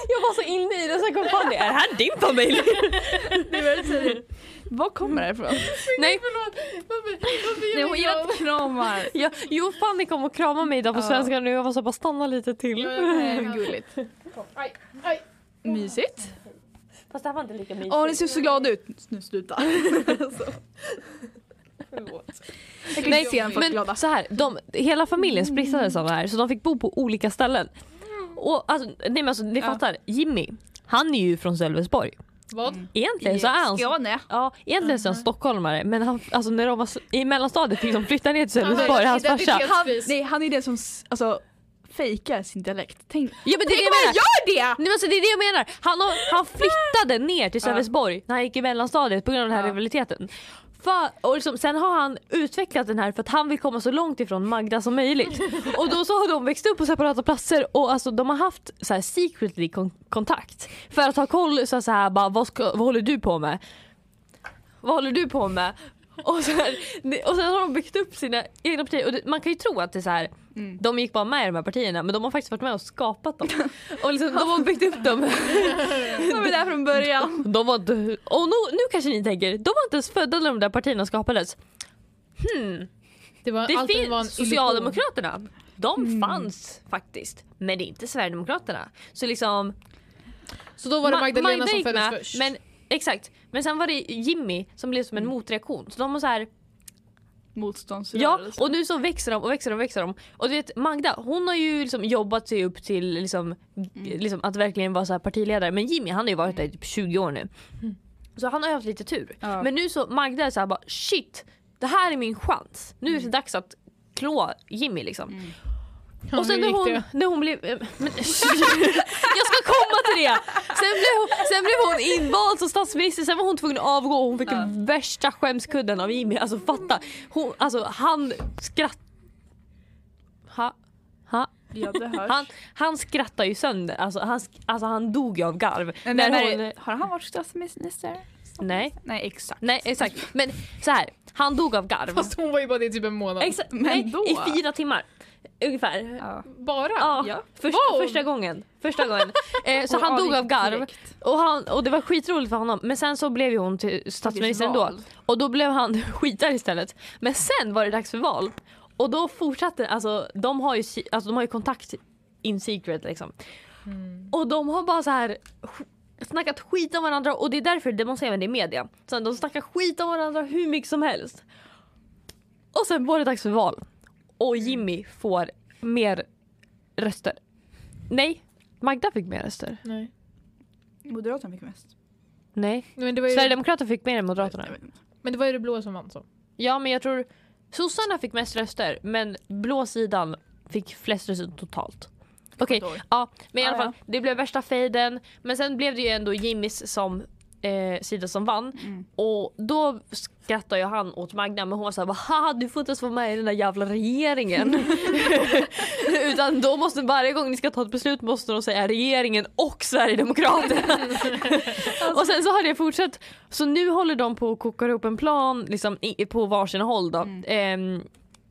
jag var så inne i det så jag kom på det. Är det här din familj?
Var kommer det här ifrån?
Nej,
Förlåt. Varför, varför
Nej,
gör
hon
vi
gillar
jag?
att kramar.
jag, jo Fanny kom och kramade mig idag på
Ja.
svenska nu. Jag var så bara stanna lite till.
Eh, men Gulligt.
Aj, aj.
Mysigt.
Fast det här var inte lika mysigt.
Åh, ni ser så glada ut. Nu sluta. Alltså.
Förlåt.
Jag kan
Nej,
inte se en folk glada.
men så här, de, hela familjen splittrades av det här så de fick bo på olika ställen. Och alltså, nej men alltså ni
Ja.
fattar, Jimmy, han är ju från Sölvesborg.
Vad?
Mm. Egentligen så är han
Skåne.
Ja, egentligen så är han stockholmare men han, alltså, när de var s- i mellanstadiet fick de flytta ner till Sölvesborg,
Ja,
hans farsa.
identitet.
Han, nej, han är den som s- alltså, fejkar sin dialekt. Tänk,
Ja men det är det
tänk
jag
om han
menar!
gör det!
Nej, men alltså, det är det jag menar! Han, har- han flyttade ner till Sölvesborg när han gick i mellanstadiet på grund av den här
Ja.
rivaliteten. För, och liksom, sen har han utvecklat den här för att han vill komma så långt ifrån Magda som möjligt. Och då så har de växt upp på separata platser och alltså, de har haft så här, secretly kon- kontakt. För att ha koll så, så här, bara, vad, ska, vad håller du på med? Vad håller du på med? Och, så här, och sen har de byggt upp sina egna partier. Och det, man kan ju tro att det är så här,
Mm.
de gick bara med i de här partierna men de har faktiskt varit med och skapat dem. Och liksom, de har byggt upp dem.
Han var där från början.
De var inte, och nu, nu kanske ni tänker, de var inte ens födda när de där partierna skapades.
Det, var,
Det
allt
finns
var en illusion.
Socialdemokraterna. De
Mm.
fanns faktiskt, men det är inte Sverigedemokraterna. Så liksom,
Så då var det
Ma-
Magdalena som
gick
föddes
med,
först. Mm.
Men, exakt, men sen var det Jimmy som blev som en motreaktion. Så de var så här, Ja,
Motståndsrörelse.
och nu så växer de och växer de och växer de. Och du vet Magda, hon har ju liksom jobbat sig upp till liksom, liksom att verkligen vara så här partiledare. Men Jimmy han har ju varit där i typ 20 år nu. Så han har ju haft lite tur.
Ja.
Men nu så Magda är så här bara shit, det här är min chans. Nu är det dags att klå Jimmy liksom. Och sen när hon, när hon blev... eh, Men, jag ska komma till det! Sen blev, hon, sen blev hon invald som statsminister, sen var hon tvungen att avgå och hon fick
Ja.
värsta skämskudden av Jimmy. Alltså fatta! Hon, alltså han skratt... Ha, ha.
Ja, det hörs.
Han, han skrattar ju sönder, alltså han, sk- alltså, han dog ju av garv.
Men
när
när-
hon,
Har han varit statsminister?
nej,
Nej, exakt.
nej exakt. Men så här, han dog av garv.
Fast hon var ju bara det i typ en månad.
Exakt,
Men
nej,
då?
I fyra timmar ungefär.
Ja.
bara?
Ja,
Ja.
Först,
Wow.
första gången. Första gången. Eh, så
Och
han dog
avgick
av garv
direkt.
och, han, och det var skitroligt för honom. Men sen så blev ju hon till statsminister ändå
vald.
och då blev han skitare istället. Men sen var det dags för val och då fortsatte, alltså de har ju, si- alltså, de har ju kontakt in secret liksom. Och de har bara så här sk- snackat skit om varandra och det är därför det man ser även i media. Så de snackar skit om varandra hur mycket som helst. Och sen var det dags för val. Och Jimmy får mer röster. Nej, Magda fick mer röster.
Nej.
Moderaterna fick mest.
Nej,
Men det, var ju,
Sverigedemokraterna fick mer än Moderaterna.
men det var ju det blå som vann så.
Ja, men jag tror sossarna fick mest röster, men blå sidan fick flest röster totalt. Okej,
Ett år.
ja, men i alla
Ah,
fall, det blev värsta fejden. Men sen blev det ju ändå Jimmys som eh, sida som vann.
Mm.
Och då skrattade ju han åt Magda, men hon var såhär haha du får inte ens vara med i den där jävla regeringen. Utan då måste varje gång ni ska ta ett beslut måste de säga regeringen och Sverigedemokraterna. Och sen så har det fortsatt. Så nu håller de på att koka ihop en plan liksom, i, på varsin håll då.
Mm.
Ehm,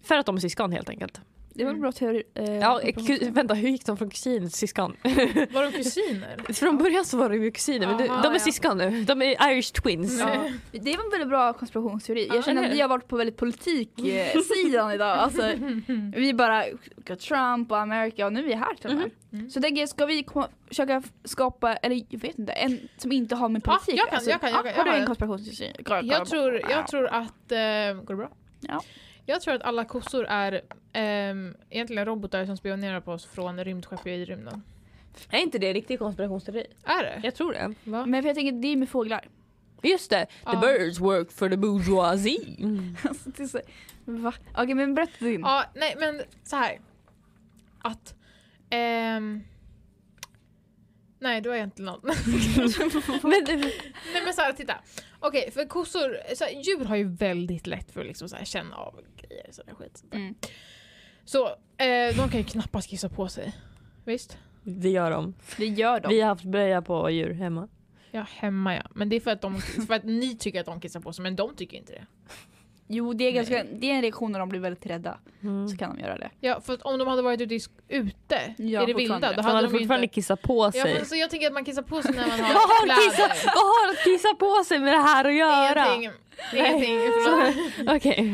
för att de är syskon helt enkelt.
Det var
Mm.
en bra teori. Eh,
Ja, ku- vänta hur gick de från kusin till syskon?
Var de kusiner?
Från början så var de ju kusiner men du,
Aha,
de är
ja.
syskon nu. De är Irish twins.
Ja. Det var en väldigt bra konspirationsteori.
Ja,
Jag känner
eller
att
hur?
vi har varit på väldigt politiksidan idag. Alltså, vi bara, Trump och America och nu är vi här till och med.
Mm.
Så jag tänker, ska vi komma, försöka skapa, eller jag vet inte, en som inte har med
Ja,
politik
Ah,
alltså, ah,
jag kan, jag kan, jag kan,
Har
jag
du
har
en
en.
konspirationsteori?
Jag tror, jag tror att... Eh, går det bra?
Ja.
Jag tror att alla kossor är ehm, egentligen robotar som spionerar på oss från rymdskepp i rymden.
Är inte det riktig konspirationsteori?
Är det?
Jag tror det.
Va?
Men för jag tänker, det är med fåglar.
Just det, the
Ja.
birds work for the bourgeoisie.
Alltså, det är så, va? Okej, men berätta din.
Ja, nej men så här. Att... ehm, nej, det var egentligen något.
Men,
Nej men Sara, titta. Okej, för kossor, så här, djur har ju väldigt lätt för att liksom, så här, känna av grejer och sådär skit.
Mm.
Så eh, de kan ju knappast kissa på sig. Visst?
det gör de.
Det gör de.
Vi har haft blöja på djur hemma.
Ja, hemma ja. Men det är för att, de, för att ni tycker att de kissar på sig, men de tycker inte det.
Jo, det är, ganska, det är en reaktion när de blir väldigt rädda.
Mm.
Så kan de göra det.
Ja, för att om de hade varit ute, i sk- ute
Ja,
i det vilda,
fortfarande.
då
De
hade
hade
de, ju
fortfarande
inte...
kissat på
Ja,
sig.
men, så jag tänker att man kissar på sig när man
Vad
har
har, kissa,
kläder.
vad har att kissa på sig med det här att göra?
Ingenting. Ingenting. förlåt.
Okej.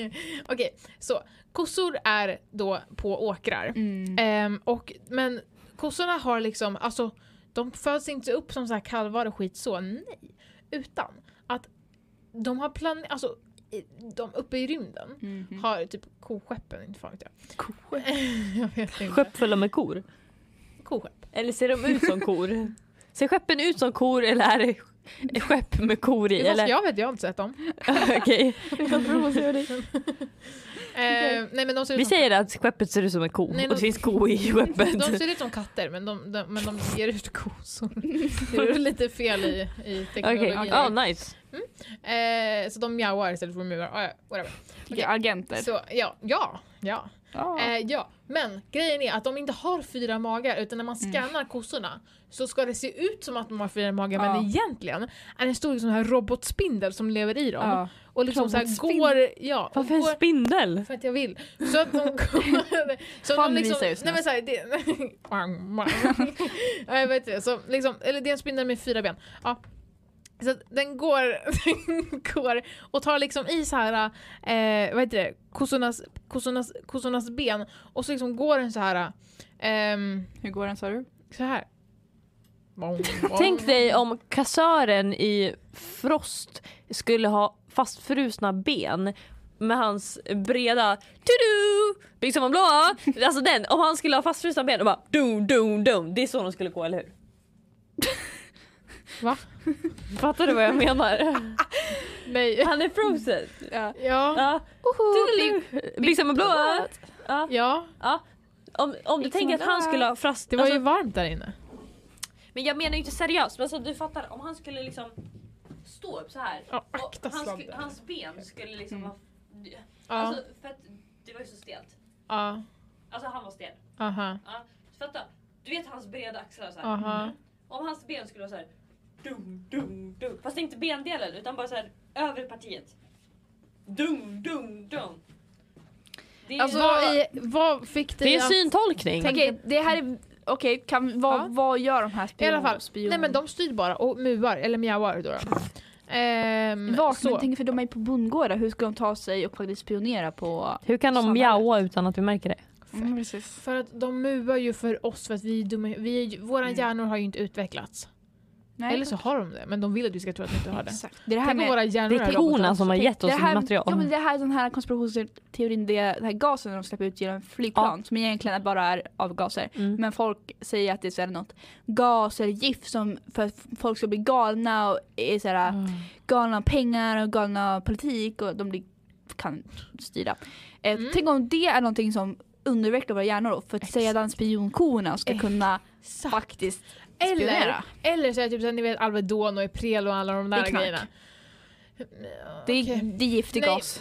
Eh, Okej, så kossor är då på åkrar.
Mm.
Ehm, och, men kossorna har liksom, alltså de föds inte upp som så här kalvar och skit så, nej. Utan att de har planerat, alltså i- de uppe i rymden
Mm.
Mhm.
har typ koskeppen, inte fan vet jag. jag vet inte.
Skepp fulla med kor?
Koskepp.
Eller ser de ut som kor? Ser skeppen ut som kor eller är det sk- skepp med kor i?
Det måste
Eller?
jag vet, jag har inte sett dem. Eh,
Okej.
Ehm, nej men de ser
Vi
ut som
säger att skeppet ser ut som en ko
Nej,
och det
de-
finns ko i skeppet.
de ser ut som katter men de, de, men de ger ut kossor. Det är lite fel i, i
Okej,
teknologi.
ja nice.
Ehm, så de mjauar istället för att muar. Ah, ja, whatever.
Okej, Agenter.
Så ja, ja, ja.
Ja.
Eh, ja, men grejen är att de inte har fyra magar utan när man
Mm.
scannar kossorna så ska det se ut som att de har fyra magar
Ja.
men egentligen är det en stor sån här robotspindel som lever i dem.
Ja.
Och liksom så här
Robotspindel?
går... Ja, och
Varför en
går
spindel?
för att jag vill. Så att de kommer... Så
Fan,
de
visa
liksom,
just nu.
nej men såhär, det... Wang, wang. ja, jag vet inte. Så liksom, eller det är en spindel med fyra ben. Ja. Så att den går, den går och tar liksom i så här, eh, vad heter det, kossornas, kossornas, kossornas ben och så liksom går den så här, ehm,
Hur går den sa du?
så här. Wang, wang.
Tänk dig om kassören i Frost skulle ha fastfrusna ben med hans breda tudu, byxor var blåa. Alltså den, om han skulle ha fastfrusna ben och bara dum dum dum. Det är så de skulle gå, eller hur?
Va?
Fattar du vad jag menar?
Nej.
Han är frozen.
Ja. Ah.
Ja. Tudeling. Byxor var blåa. Ja. Ja,
Ja,
ja. Om, om du
Liksom
tänker att
där.
han skulle ha frast...
det var
alltså,
ju varmt där inne.
Men jag menar ju inte seriöst, men alltså, du fattar om han skulle liksom stå upp så här
Ja,
och
akta
han sku-
sladden.
hans ben skulle liksom
Mm.
vara...
Ja,
Alltså för att det var ju så stelt.
ja,
Alltså han var stel.
aha,
Fatta, du vet hans breda axlar så här.
aha.
Om hans ben skulle vara så här. Dum, dum, dum. Fast inte bendelen utan bara så här över partiet. Dum, dum, dum. Det är,
Alltså,
vad, i, vad fick dig att...
syntolkning.
Okej, det här är... Okej, kan- vad,
Ja.
vad gör de här
I
spion,
alla fall,
spion-
nej men de styr bara och muar, eller mjauar då. då. Ehm,
Vart? Men
så.
tänk för de är på bondgårdar, hur ska de ta sig och faktiskt spionera på...
Hur kan
de mjaua
utan att vi märker det?
Mm, precis.
För att de muar ju för oss för att vi är dumma vi är, ju- Våra
Mm.
hjärnor har ju inte utvecklats.
Nej,
eller så har de det, men de vill att vi ska tro att vi inte har det.
Exakt. Det är det här
Tänk om
med...
våra hjärnor är robotar.
som
det här, Ja, men det här är den här konspirationsteorin, det, den här gasen de släpper ut genom flygplan som egentligen bara är avgaser.
Mm.
Men folk säger att det är så här något gas eller gift som för att folk ska bli galna och är så här,
Mm.
galna om pengar och galna om politik och de blir, kan styra. Eh,
Mm.
Tänk om det är någonting som undervecklar våra hjärnor då, för att sedan spionkorna ska kunna
Exakt.
faktiskt
Eller,
spionera.
eller så är det typ såhär, ni vet Alvedon och Ipred och alla de
Det
där
är knark.
grejerna.
Det är,
Okej.
det är giftig
Nej. Mm.
gas.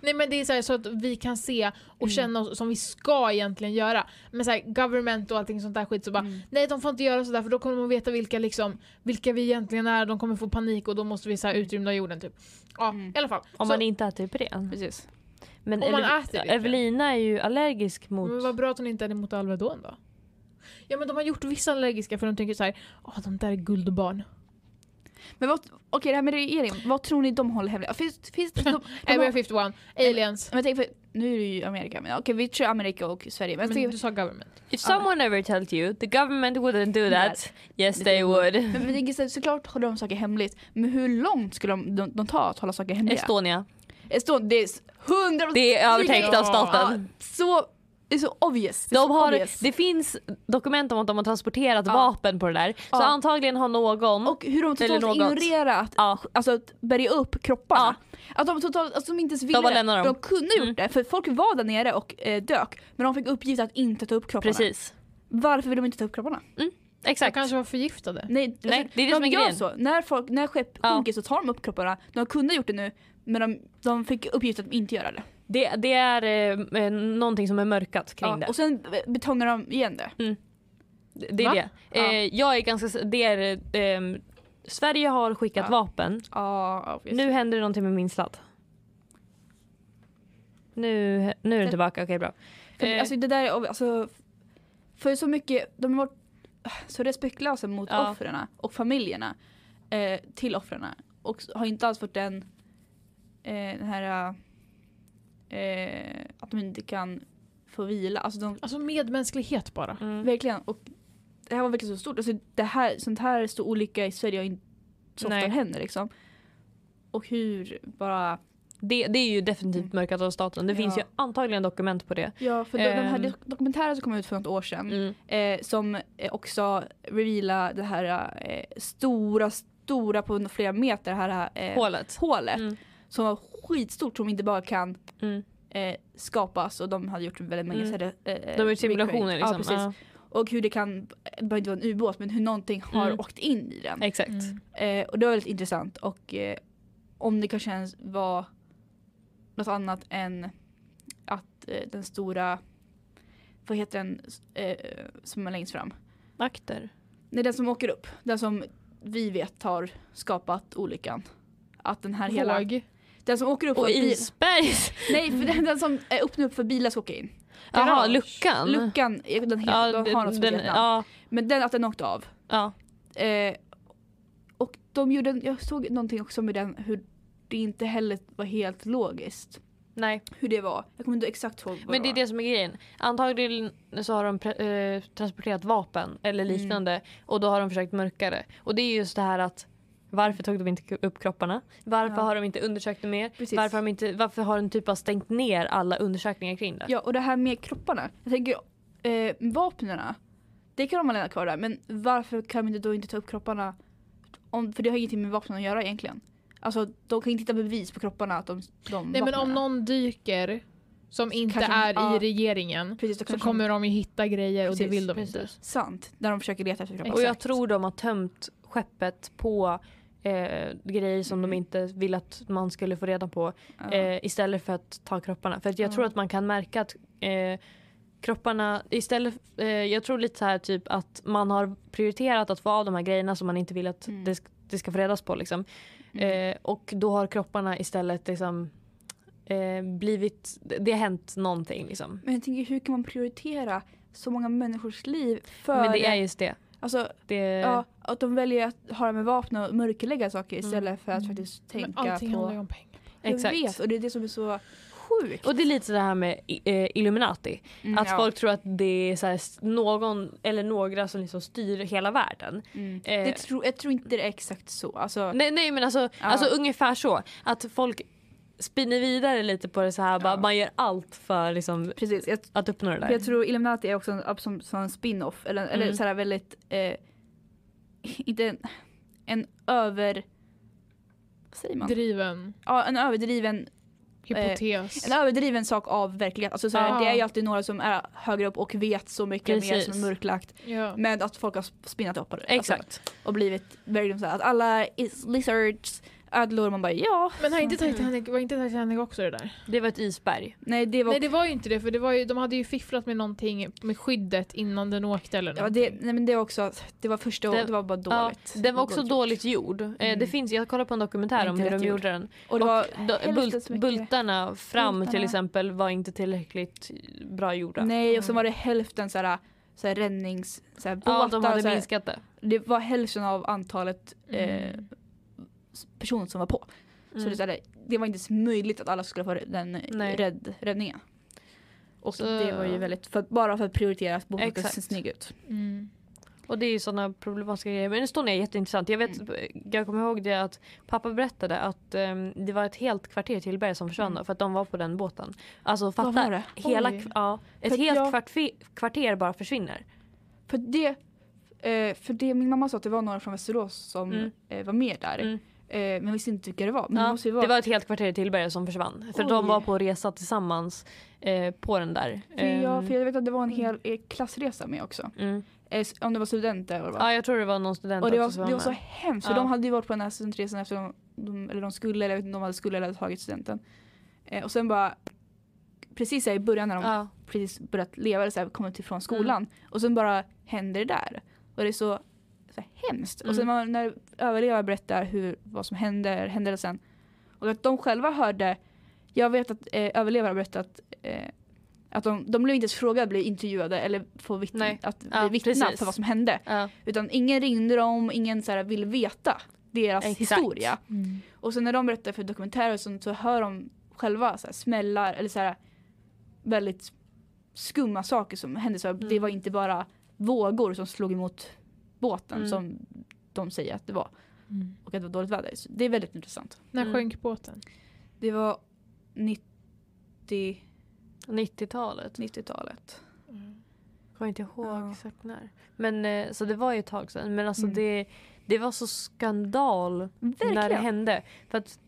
Nej men det är så, här, så att vi kan se och
Mm.
känna oss som vi ska egentligen göra. Men så här, government och allting sånt där skit så bara
Mm.
nej de får inte göra sådär för då kommer de att veta vilka, liksom, vilka vi egentligen är, de kommer få panik och då måste vi så här, utrymda jorden typ. Ja
Mm.
i alla fall.
Om
så,
man inte äter Ipren.
Precis.
Men
Om man
Evel-
äter Ipren.
Evelina är ju allergisk mot...
men vad bra att hon inte är emot Alvedon då. Ja men de har gjort vissa allergiska för de tänker så här, åh de där är guldbarn.
Men vad, okej det här med regering, vad tror ni de håller hemligt? Finns, finns det, de, de, har-
Area 51, aliens.
men tänk för, nu är det ju Amerika, men okej vi kör Amerika och Sverige. Men,
Men
tänk-
du sa government.
If someone ever tells you the government wouldn't do that, yes they would.
men, men tänk istället, såklart håller de saker hemligt, men hur långt skulle de, de, de ta att hålla saker hemliga?
Estonia.
Estonia, det är s- 100%
Det är övertäckt av
Ja.
staten.
så, det är så obvious. Det, är
De
så
har,
obvious.
det finns dokument om att de har transporterat
Ja.
vapen på det där. Så
Ja.
antagligen har någon...
och hur de
Eller
totalt
något.
ignorerat
ja.
alltså, att bärga upp kropparna. Att de totalt, alltså, de inte ens ville
bara
det.
lämnar dem.
De kunde gjort
Mm.
det för folk var där nere och eh, dök men de fick uppgift att inte ta upp kropparna.
Precis.
Varför vill de inte ta upp kropparna?
De
Exakt.
kanske var förgiftade.
Nej,
Nej,
alltså,
det är det
de
som är
gör
grejen.
Så. När, folk, när skepp
Ja.
sjunker så tar de upp kropparna. De kunde gjort det nu men de, de fick uppgift att inte göra det.
Det, det är eh, eh, någonting som är mörkat kring
Ja,
det.
och sen eh, betonar de igen det.
Det- Det är
Va?
det.
Ja.
Eh, jag är ganska... s- Det är, ehm, Sverige har skickat
Ja.
vapen.
Ja, obvious.
Nu händer det någonting med min sladd. Nu, nu är den tillbaka, okej bra.
För,
Eh.
Alltså det där, är- alltså, för så mycket, de har varit ah, så respektlösa mot
Ja.
offren och familjerna eh, till offren och har inte alls fått den, eh, den här eh, att de inte kan få vila. Alltså de,
Alltså medmänsklighet bara.
Mm.
verkligen, och det här var verkligen så stort. Alltså det här, sånt här stor olycka i Sverige har inte så ofta
Nej.
händer liksom. Och hur bara,
Det, det är ju definitivt
Mm.
mörkat av staten. Det finns ju
Ja.
antagligen dokument på det.
ja för de, de här
Ehm.
dok- dokumentären som kom ut för något år
Mm.
sedan eh, som eh, också revealar det här eh, stora, stora på flera meter här eh,
Hålet.
hålet
Mm.
som var skitstort som inte bara kan
Mm.
eh, skapas och de hade gjort väldigt många
Mm.
sådär, eh,
De är ju simulationer
recreate.
liksom.
Ja, precis.
Ja,
Och hur det kan, det behöver inte vara en ubåt men hur någonting har
Mm.
åkt in i den.
exakt.
Mm.
Eh, och det var väldigt intressant och eh, om det kanske ens var något annat än att eh, den stora, vad heter den eh, som är längst fram?
Akter.
Nej, den som åker upp. Den som vi vet har skapat olyckan. Att den här hela...
Våg.
Den som åker upp
Och
för bil-
isbergs...
Nej, för den, den som eh, öppnar upp för bilar ska åka in.
Jaha,
Garage.
luckan.
Luckan, eh, den, he-
Ja,
de har något som
den,
heter Vietnam.
ja,
Men den, att den åkte av.
ja.
Eh, och de gjorde, en- jag såg någonting också med den hur det inte heller var helt logiskt.
Nej.
Hur det var. Jag kommer inte exakt ihåg vad
Men det är
var.
det som är grejen. Antagligen så har de pre- eh, transporterat vapen eller
Mm.
liknande och då har de försökt mörka det. Och det är just det här att varför tog de inte upp kropparna? Varför
Ja.
har de inte undersökt det mer?
Precis.
Varför har, de inte, varför har de typ bara stängt ner alla undersökningar kring det?
Ja, och det här med kropparna. Jag tänker, eh, vapnena. Det kan de lämna kvar där, men varför kan de inte då inte ta upp kropparna? Om, för det har ingenting med vapnen att göra egentligen. Alltså de kan inte hitta bevis på kropparna att de, de
Nej men om
vapnena.
någon dyker som inte
Kanske-
är
ja.
i regeringen
Precis, då
så
kanske
kommer de ju hitta grejer och det
Precis,
vill de inte.
Precis.
Sant, när de försöker leta efter
Och
kroppar.
jag
Exakt.
tror de har tömt skeppet på eh, grejer som
Mm.
de inte ville att man skulle få reda på
Ja.
eh, istället för att ta kropparna. För att jag
Ja.
tror att man kan märka att eh, kropparna istället, eh, jag tror lite så här typ att man har prioriterat att få av de här grejerna som man inte vill att
Mm.
det, sk- det ska få redas på liksom.
Mm.
Eh, och då har kropparna istället liksom eh, blivit, det, det har hänt någonting liksom.
Men jag tänker hur kan man prioritera så många människors liv för
Men det är just det.
alltså,
det
Eh.
ja, att de väljer att ha det med vapen och mörklägga saker
Mm.
istället för att
Mm.
faktiskt
Men
tänka
allting handlar ju
på...
om pengar.
Jag
Exakt.
vet och det är det som är så sjukt.
Och det är lite det här med eh, Illuminati.
Mm,
Att
ja.
folk tror att det är så här, någon eller några som liksom styr hela världen.
Mm.
eh,
det tror, jag tror inte det är exakt så. Alltså,
Nej, nej men alltså, alltså ungefär så. Att folk spinner vidare lite på det så här. Bara, man gör allt för liksom,
precis, jag,
att uppnå det där.
jag tror Illuminati är också en, ab- som, som en spin-off eller, eller
Mm.
sådär väldigt, eh, inte en, en över, vad säger man?
Driven,
Ja, en överdriven,
hypotes.
en överdriven sak av verklighet. Alltså, såhär,
Ja.
Det är ju alltid några som är högre upp och vet så mycket mer
Precis.
som är mörklagt.
ja.
Men att folk har sp- spinnat upp på det. Alltså,
Exakt.
och blivit verkligen såhär att alla is lizards, ödlor, man bara ja. Mm.
Men har inte Titanic, var inte Titanic också det där?
Det var ett isberg.
Nej det var,
Mm. Nej det var ju inte det för det var ju, de hade ju fifflat med någonting med skyddet innan den åkte eller
ja,
någonting.
det, nej, men det var också, att det var första
Det-
det, det var bara
Ja,
dåligt.
den var också
Dåligt.
dåligt gjord. Eh, Det
Mm.
finns, jag kollade på en dokumentär
Inte
om hur
rätt
de
gjord.
gjorde den.
Och det var
Då,
hälften
bult,
så mycket.
bultarna fram till
Bultarna.
exempel var inte tillräckligt bra gjorda.
Nej och sen var det hälften såhär, såhär räddnings... Såhär,
ja,
båtar,
de hade
såhär,
minskat det.
det var hälften av antalet eh,
Mm.
personer som var på. Så
Mm.
det, såhär, det var inte ens möjligt att alla skulle få den eh,
Nej.
rädd, räddningen. Och
Så-
det var ju väldigt, för, bara för att prioritera att båten ska
Exakt.
se snygg ut.
Mm.
Och det är ju sådana problematiska grejer. Men Estonia är jätteintressant. Jag, vet,
Mm.
jag kommer ihåg det att pappa berättade att ehm, det var ett helt kvarter till Berg som försvann
Mm.
då, för att de var på den båten. Alltså
Vad var
fatta.
det?
Hela,
Oj.
kv- ja, ett
För att
helt
jag-
kvartfi- kvarter bara försvinner.
För det, eh, för det, min mamma sa att det var några från Västerås som
Mm.
eh, var med där.
Mm.
Eh, men visste inte vilka det var. Men det
Ja,
måste ju vara,
det var ett helt kvarter till Berg som försvann. För
Oj.
de var på resa tillsammans eh, på den där.
för, jag,
Ehm,
för jag vet att det var en hel eh, klassresa med också.
mm.
Eh, s- om det var studenter eller vad det var.
Ja, jag tror det var någon student
Och det var,
också som
det var
med.
så hemskt för
Ja.
de hade ju varit på den här studentresan efter de, de, eller de skulle eller jag vet inte om de hade skulle eller hade tagit studenten. Eh, och sen bara precis här i början när de
ja.
precis börjat leva eller så här, kommit
Mm.
ifrån skolan och sen bara händer det där. Och det är så, så här hemskt. Och
Mm.
sen man, när överlevare berättar hur, vad som händer, händelsen och att de själva hörde, jag vet att eh, överlevare har berättat eh, att de, de blev inte ens frågade, blev intervjuade eller få vittna,
Nej.
att bli
Ja,
vittna
precis.
för vad som hände.
Ja.
Utan ingen ringde dem, ingen så här, vill veta deras
Exakt.
historia.
Mm.
Och sen när de berättar för dokumentärer och sånt så hör de själva så här, smällar eller så här, väldigt skumma saker som hände. Så här, Det
Mm.
var inte bara vågor som slog emot båten
Mm.
som de säger att det var.
Mm.
Och att det var dåligt väder. Så det är väldigt intressant.
När
Mm.
sjönk båten?
Det var 90,
90-talet.
90-talet.
Jag kommer inte ihåg
Ja.
exakt när. Men, eh, så det var ju ett tag sedan. Men alltså
Mm.
det, det var så skandal när det
Verkligen.
hände. För att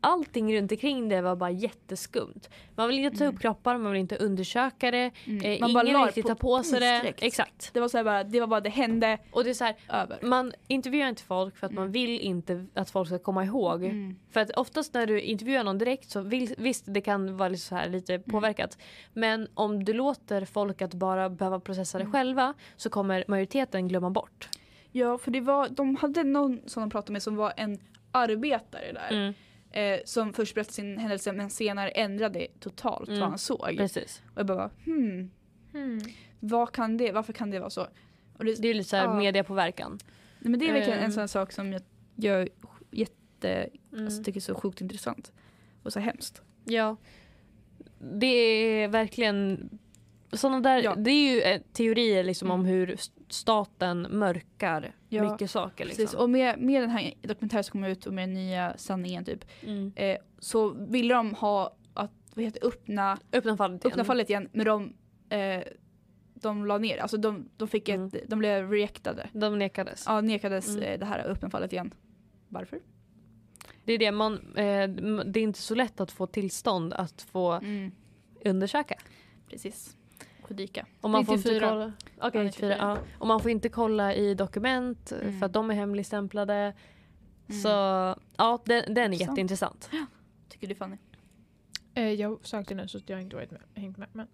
allting runt omkring det var bara jätteskumt. Man vill inte ta upp
Mm.
kroppar, man vill inte undersöka det.
Mm.
Eh, ingen
la det
riktigt tar på sig
is
det.
direkt.
Exakt.
Det var, så här bara, det var bara det hände
Och det är så här,
över.
man intervjuar inte folk för att man
Mm.
vill inte att folk ska komma ihåg.
Mm.
För att oftast när du intervjuar någon direkt så vill, visst det kan vara lite, så här,
Mm.
lite påverkat. Men om du låter folk att bara behöva processa det
Mm.
själva så kommer majoriteten glömma bort.
Ja, för det var, de hade någon som de pratade med som var en arbetare där.
Mm,
Eh, som först berättade sin händelse men senare ändrade totalt
Mm.
vad han såg.
precis.
Och jag bara hmm,
Mm.
vad kan det, varför kan det vara så? Och det,
Det är lite så här
Ja.
mediepåverkan.
nej, men det är verkligen
Ehm.
en sån sak som jag, jag jätte,
Mm.
alltså, tycker är så sjukt intressant. Och så hemskt.
Ja. Det är verkligen sådana där,
Ja.
det är ju eh, teorier liksom
Mm.
om hur s- staten mörkar
Ja,
mycket saker. Liksom.
Precis. Och med, med den här dokumentären som kom ut och med den nya sanningen typ.
Mm.
Eh, så ville de ha att, vad heter det, öppna,
Öppna fallet igen.
öppna fallet igen men de, eh, de la ner Alltså de, de fick ett, de blev reactade.
De nekades.
Ja, nekades
Mm.
eh, det här öppna fallet igen. Varför?
Det är det, man, eh, m- det är inte så lätt att få tillstånd att få undersöka.
Precis. Och dyka.
Och man får inte
94.
kolla, Okej,
Ja,
94, ja. Och man får inte kolla i dokument
Mm.
för att de är hemligstämplade. Så ja, den, den är
Sant.
jätteintressant.
Tycker du Fanny?
Eh, jag sökte nu så jag har inte varit med, hängt med. Men.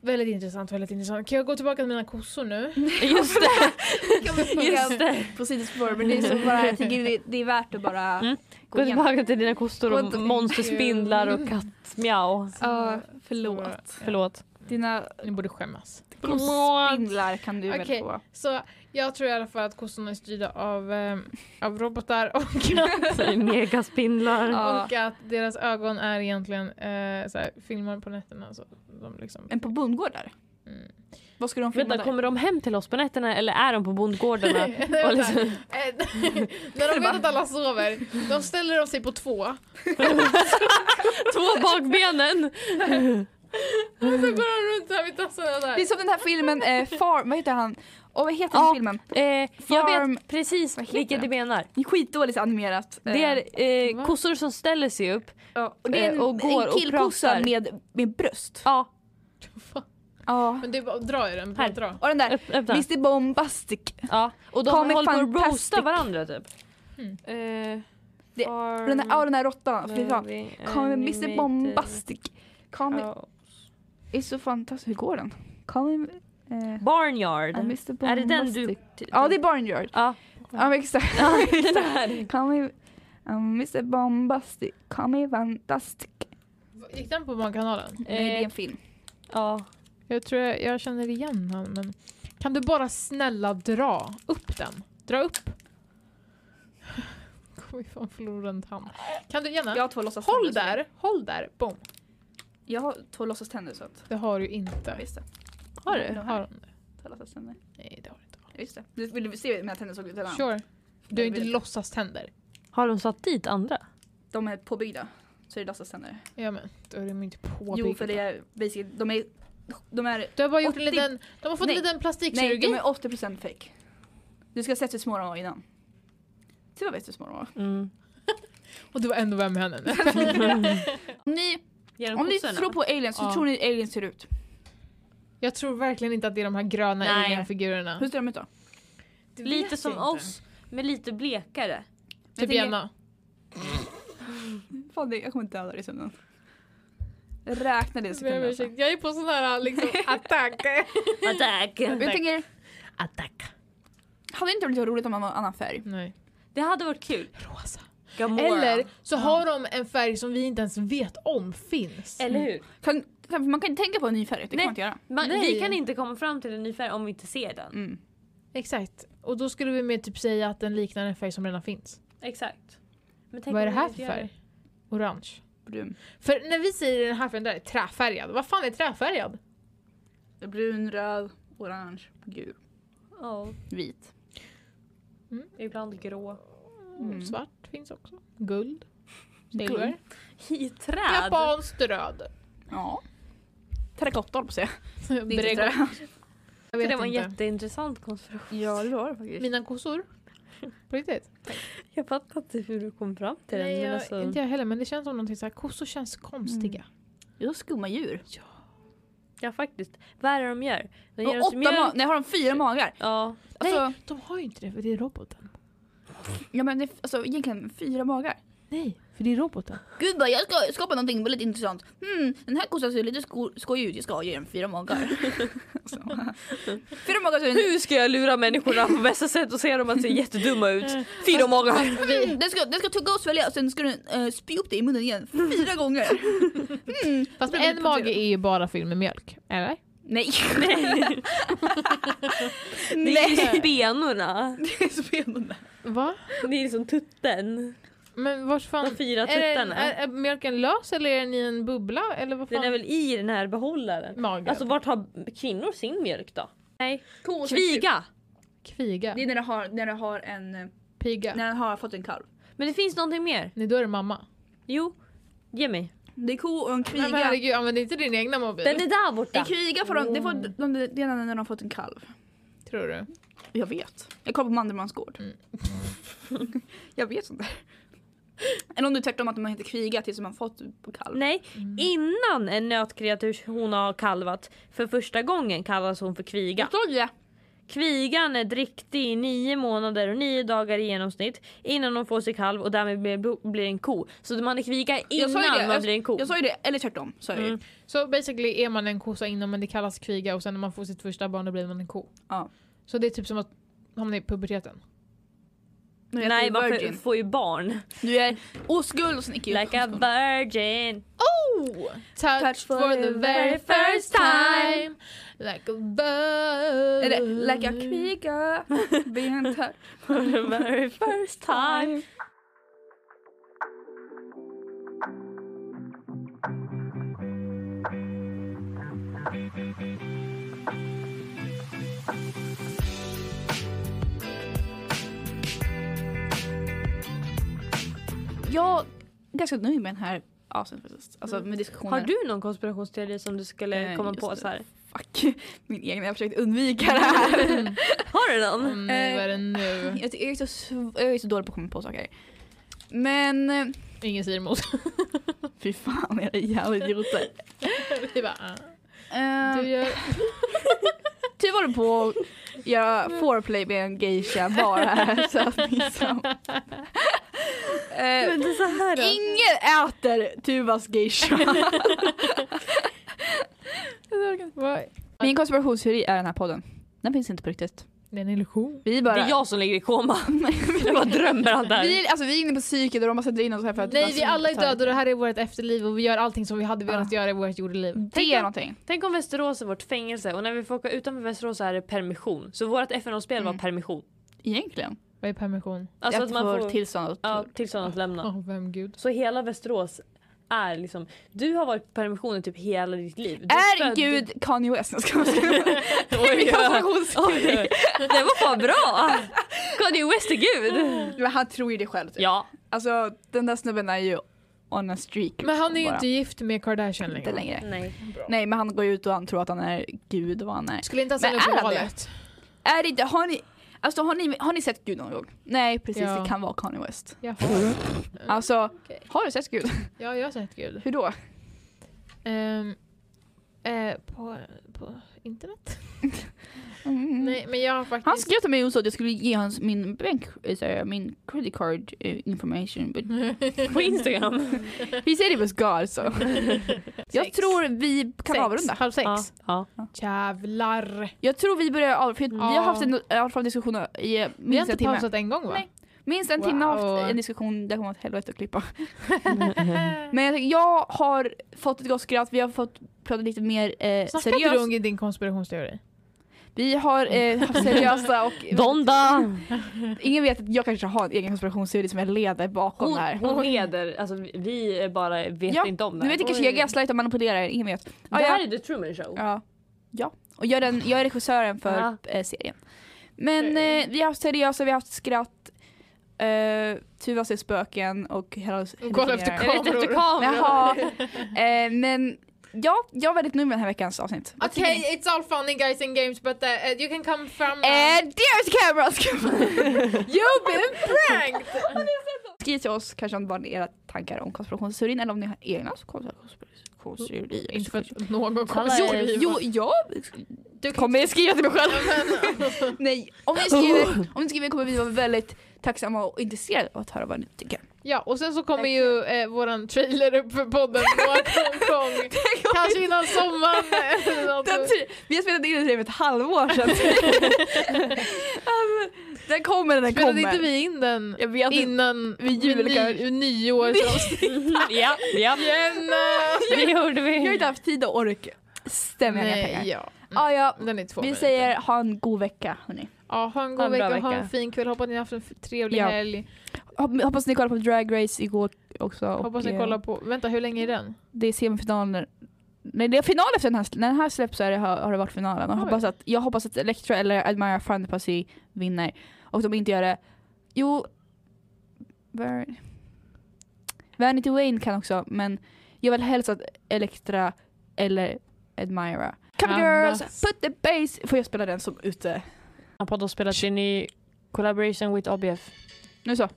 Väldigt intressant, väldigt intressant. Kan jag gå tillbaka till mina kossor nu?
Just det!
vi
Just det.
På sidospår men det är så bara, jag tycker det- det är värt att bara
Mm.
gå
Gå
igenom.
tillbaka till dina kossor
Gå
och
inte-
monsterspindlar och kattmjau.
Ja,
Så-
förlåt.
Förlåt.
Dina
Ni borde skämmas.
spindlar kan du väl
Okej.
få.
Så jag tror i alla fall att kossorna är styrda av, eh, av robotar och,
Säg Megaspindlar.
Ja.
och att deras ögon är egentligen eh, så här, filmar på nätterna. Så de liksom,
Men på bondgårdar?
Mm.
Vad ska de filma
Vänta,
där?
kommer de hem till oss på nätterna eller är de på bondgårdarna?
Vänta.
och liksom,
Eh, när de vet att alla sover, då ställer de sig på två
två bakbenen!
och så går de runt så här vid tassarna där.
Det är som den här filmen eh, Farm, vad heter han? Och vad heter
Ja.
den filmen?
Eh, jag
Farm-
vet precis
Vad heter
vilket du
den?
menar.
Det är skitdåligt animerat.
Det är eh,
va?
kossor som ställer sig upp.
Ja, Eh, och det är en,
och går
en
och
killkossa
pratar.
med, med bröst.
Ja,
Ja.
Men det är bara att dra i den. Bara
Här.
dra.
Och den där
öpp- öppna.
Mr Bombastic.
Ja. Och de
Comic
håller på att roasta
Fantastic.
varandra typ.
Eh,
Det-
farm-
Och den där, ja, och den där råttan. Fy fan.
movie
Come in, Mr
animated
Bombastic. Come in.
house.
är så fantastisk. Hur går den? Come in, eh,
Barnyard.
Mr Bombastic.
är det den du... typ-
Ja det är Barnyard.
Ja.
Ja men exakt.
Ja, den här.
Come in, um, Mr Bombastic. Come in fantastic.
Gick den på Magkanalen?
Nej
Eh,
det är en film.
Ja.
Jag tror jag, jag känner igen han men kan du bara snälla dra upp den? Dra upp. Kommer ifrån förlorad hand. Kan du Jenna?
har två låtsas
Håll där, håll där, bom.
Jag har två låtsaständer så att.
Det har du inte.
Visst det.
Har du?
Nu
Har
här.
hon det?
Två låtsaständer.
Nej, det har du inte.
Visst det. Du, vill du se hur mina tänder såg ut? Eller?
Sure. Du har
Jag
inte
vet.
låtsaständer.
Har de satt dit andra?
De är påbyggda. Så är det låtsaständer.
Ja men, då är de inte påbyggda.
Jo för det är basically, de är, de är
Du har bara gjort en
80
liten, de har fått
Nej.
en liten
Nej,
plastikkirurgi.
de är 80% fake. Du ska ha sett hur små de var innan. Typ Tur vet hur små de var.
Mm.
Och du var ändå vän med henne.
Om ni,
Genom
om ni tror på aliens, hur
Ja.
tror ni aliens ser ut?
Jag tror verkligen inte att det är de här gröna
Nej.
alienfigurerna.
Hur ser de ut då?
Det vet
Lite
jag
som
inte.
oss, men lite blekare.
Jag
Typ
tänker-
Jenna.
Fan, det, jag kommer inte döda dig i sömnen. Räkna det i
Jag
sekunder.
ber om
Alltså.
ursäkt. Jag är på sån här liksom, attack.
Attack!
Jag tänker,
Attack.
hade det inte blivit roligt om man var en annan färg?
Nej.
Det hade varit
Mm.
kul.
Rosa.
Gamora.
Eller så har de en färg som vi inte ens vet om finns.
Eller hur?
Kan, kan, man kan inte tänka på en ny färg, det kan
Nej.
man inte göra.
Man,
Nej.
vi kan inte komma fram till en ny färg om vi inte ser den.
Mm.
Exakt. Och då skulle vi mer typ säga att den liknar en färg som redan finns.
Exakt. Men tänk
vad är
om vi
det här
inte
för
gör
färg? Orange.
Brun.
För när vi säger den här färgen där, är träfärgad. Vad fan är träfärgad?
Brun, röd, orange, gul,
det? Ja,
vit.
ibland grå.
Mm.
Svart finns också. Guld.
Guld.
Silver.
I träd.
Japanskt röd.
Ja. Terrakotta höll jag på att säga. Det är inte
Brego.
trä.
Jag
Så
vet
det var en
inte.
jätteintressant konstruktion.
Ja det var det faktiskt.
Mina kossor. På riktigt.
Jag fattar inte hur du kom fram till
Nej,
den. Men
jag,
alltså,
Inte jag heller, men det känns som någonting så här. Kossor känns konstiga.
Jag har skumma djur.
Ja faktiskt. Vad är det de gör? De
Och
ger oss
åtta ma-
mjölk.
nej har de fyra magar?
Ja.
Alltså,
De har ju inte det för det är roboten.
ja, men det, alltså egentligen fyra magar.
Nej, för det är roboten.
Gud vad jag ska skapa någonting väldigt intressant. Hmm, den här kossan ser lite sko- skojig ut, jag ska ge den fyra magar. Så. Alltså. fyra magar så är den,
Hur ska jag lura människorna på bästa sätt och se dem att se jättedumma ut? Fyra magar.
vi- den, Hmm, ska, den ska tugga och svälja, sen ska den eh, spy upp dig i munnen igen fyra gånger. Mm.
Fast
Nej,
en
men-
mage är ju bara fylld med mjölk. Eller?
Nej.
Det är
Nej.
liksom benorna.
Det är så spännande.
Va?
Det är liksom tutten.
Men vars fan...
De fyra
Är, den,
tuttarna.
är, är mjölken lös eller är den i en bubbla? Eller vad fan?
Den är väl i den här behållaren.
Magen.
Alltså vart har kvinnor sin mjölk då? Nej.
Kos-
Kviga!
Kviga.
Det är när den har, när den har en, eh,
Piga. Nej.
när den har fått en kalv.
Men det finns någonting mer.
då är det mamma.
Jo, ge mig.
Det är ko och en
Nej, men
kviga.
herregud, använd inte din egna mobil.
Den är där borta.
En kviga får de, det får
Mm.
de, det är när de har fått en kalv.
Tror du?
Jag vet. Jag kollar på Mandelmans gård.
Mm.
jag vet sånt där. Eller om du tvärtom att man inte krigar tills man fått på kalv.
Nej,
Mm.
innan en nötkreatur hon har kalvat för första gången kallas hon för kviga.
Förstår du det? Mm.
Kvigan är dräktig i nio månader och nio dagar i genomsnitt innan hon får sin kalv och därmed blir, blir en ko. Så man är kviga
Jag sa ju det,
innan man blir en ko.
Jag sa ju det, eller tvärtom sa jag ju.
Mm.
Så basically är man en kossa innan men det kallas kviga och sen när man får sitt första barn då blir man en ko.
Ja.
Så det är typ som att hamna i puberteten.
Men jag
Nej,
är
man får,
virgin.
får ju barn.
Du är oskuld och sen icke
Like a
oskuld.
virgin.
Oh! Touch,
Touch
for,
for
the very first time Like a bird
Eller like a kviga. Bentar.
For the very first time.
Jag är ganska nöjd med den här avsnittet faktiskt. Alltså med diskussionen.
Mm. Har du någon konspirationsteori som du skulle
Eh,
komma
just
på
det.
så här?
Fuck, min egna. Jag försökte undvika det här.
Har du någon?
Och nu Mm, är det nu.
jag, jag, är så, sv- jag är så dålig på att komma på saker. Men eh,
Ingen säger emot.
fy fan era jävla idioter.
Vi bara, ah.
Eh,
du gör...
Typ var du på att göra foreplay med en geisha bar här. Så att liksom. Eh,
Men det är så här då.
ingen äter Tuvas geisha.
Vad?
Min konspirationsteori är den här podden. Den finns inte på riktigt.
Det är en illusion.
Vi
Det
bara...
är jag som ligger i koma. Jag bara drömmer allt det här.
Vi, är- alltså, vi är inne på psyket och de bara sätter in oss här för att...
Nej vi alla är döda och det här är vårt efterliv och vi gör allting som vi hade velat göra i vårt jordeliv.
Det är någonting.
Tänk om Västerås är vårt fängelse och när vi får åka utanför Västerås så är det permission. Så vårt FNO-spel var
Mm.
permission.
Egentligen.
Vad är permission?
Alltså att, man får
tillstånd att...
ja, tillstånd att lämna.
Åh vem gud.
Så hela Västerås är liksom, du har varit på permissionen typ hela ditt liv. Du
Är
född-
Gud Kanye West? Jag ska bara-
Oj,
Min
ja.
konspirationsteori.
Oj, Det var fan bra! Kanye West är gud!
Men han tror ju det själv. Typ.
Ja,
Alltså den där snubben är ju on a streak.
Men han är ju
bara.
inte gift med Kardashian längre.
Inte längre.
nej.
Nej men han går ju ut och han tror att han är gud och vad han är.
Skulle inte ha
Men
ställt upp
är
i
han det?
valet.
Är det inte, har ni, alltså har ni, har ni sett Gud någon gång? Nej precis
Ja.
det kan vara Kanye West.
Jaha.
Alltså
Okej.
har du sett Gud?
Ja, jag har sett Gud.
Hur då?
Ehm, eh, på, på internet?
Mm.
Nej, men jag har faktiskt...
Han skrev till mig och sa att jag skulle ge hans, min bank, eh, så här, min credit card eh, information but
På Instagram.
he said it was God so. jag
Sex.
tror vi kan
Sex.
avrunda.
Halv sex.
Ja, ja.
Jävlar.
Jag tror vi börjar avrunda, för vi har
Ja.
haft en, i alla fall diskussion i
Vi har
minst en
inte
timme.
pausat en gång va?
Nej. Minst en timme har
Wow.
haft en diskussion där det kommer åt helvete att klippa. Men jag, tänker, jag har fått ett gott skratt, vi har fått prata lite mer eh,
Snackade du
seriöst.
om din konspirationsteori?
Vi har eh, haft seriösa och
Mm. Donda!
ingen vet att jag kanske har en egen konspirationsteori som jag leder bakom
Hon,
det här.
hon leder, alltså vi- vi är bara vet
Ja,
inte om det
Nu
här.
vet jag kanske jag gaslightar och manipulerar er, ingen vet.
Det
Ja, ja.
här är The Truman Show.
Ja. ja. Och jag är, den, jag är regissören för
Ja.
eh, serien. Men eh, vi har haft seriösa, vi har haft skratt, eh, Tuva ser spöken och hela...
Och kolla efter
Jag vet inte
Kameror.
kameror.
Jaha. Eh, men ja, jag är väldigt nöjd med den här veckans avsnitt. Vad tycker
Okej,
ni?
it's all fun and guys and games but uh, uh, you can come from... Uh,
And there's cameras!
you've been pranked!
Skriv till oss kanske om vad era tankar om konspirationsteorin eller om ni har egna konspirationsteorier.
inte för att någon kommer
Alla
Jo,
skriva.
jo, jag
Du kan
kommer skriva till mig själv.
Men,
Nej, om ni skriver, om ni skriver kommer vi vara väldigt tacksamma och intresserade av att höra vad ni tycker.
ja, och sen så kommer ju eh, våran trailer upp för podden någon gång. Kanske innan sommaren. Alltså, eller något.
Den tri- Typ, vi har spelat in den för ett halvår sedan. alltså, den kommer när den
Spelade inte
kommer.
vi in den
Jag
alltså,
vet inte.
innan
vid jul kanske.
ny, nyår?
ja, ja. Det gjorde
Mm-hmm. Jag har
vi.
inte haft tid och ork. Stämmer jag inga pengar.
Nej, ja. mm.
Ah, ja,
Den är två
vi
minuter.
säger ha en god vecka hörni.
Ja, ha en god
Ha en bra
vecka, ha en
vecka.
fin kväll. Hoppas ni har haft en f- trevlig
Ja.
helg.
Hop- Hoppas ni kollade på Drag Race igår också. och,
Hoppas ni
eh,
kollar på... Vänta, hur länge är den?
Det är semifinalen. Nej det är final efter den här, när den här släpps så är det, har, har det varit finalen. Och
Oj.
hoppas att, jag hoppas att Elektra eller Admira Fantasy vinner. Och de inte gör det. Jo... Var, Vanity Wayne kan också men jag vill helst att Elektra eller Admira. Come
Andas.
girls, put the bass! Får jag spela den som ute?
Apod har spelat in i collaboration with ABF.
Nu så.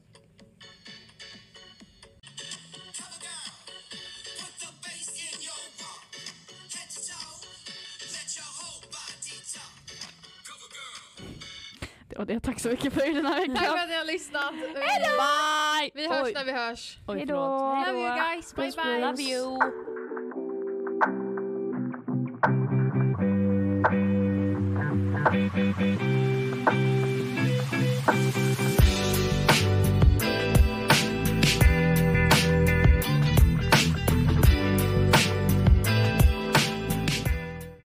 det var det. Tack så mycket för er den här
Tack
veckan.
för att ni har lyssnat.
Bye!
Vi hörs
Oj.
när vi hörs.
Oj,
Hejdå.
förlåt.
Hej
Love you guys. Bye bye.
Love you!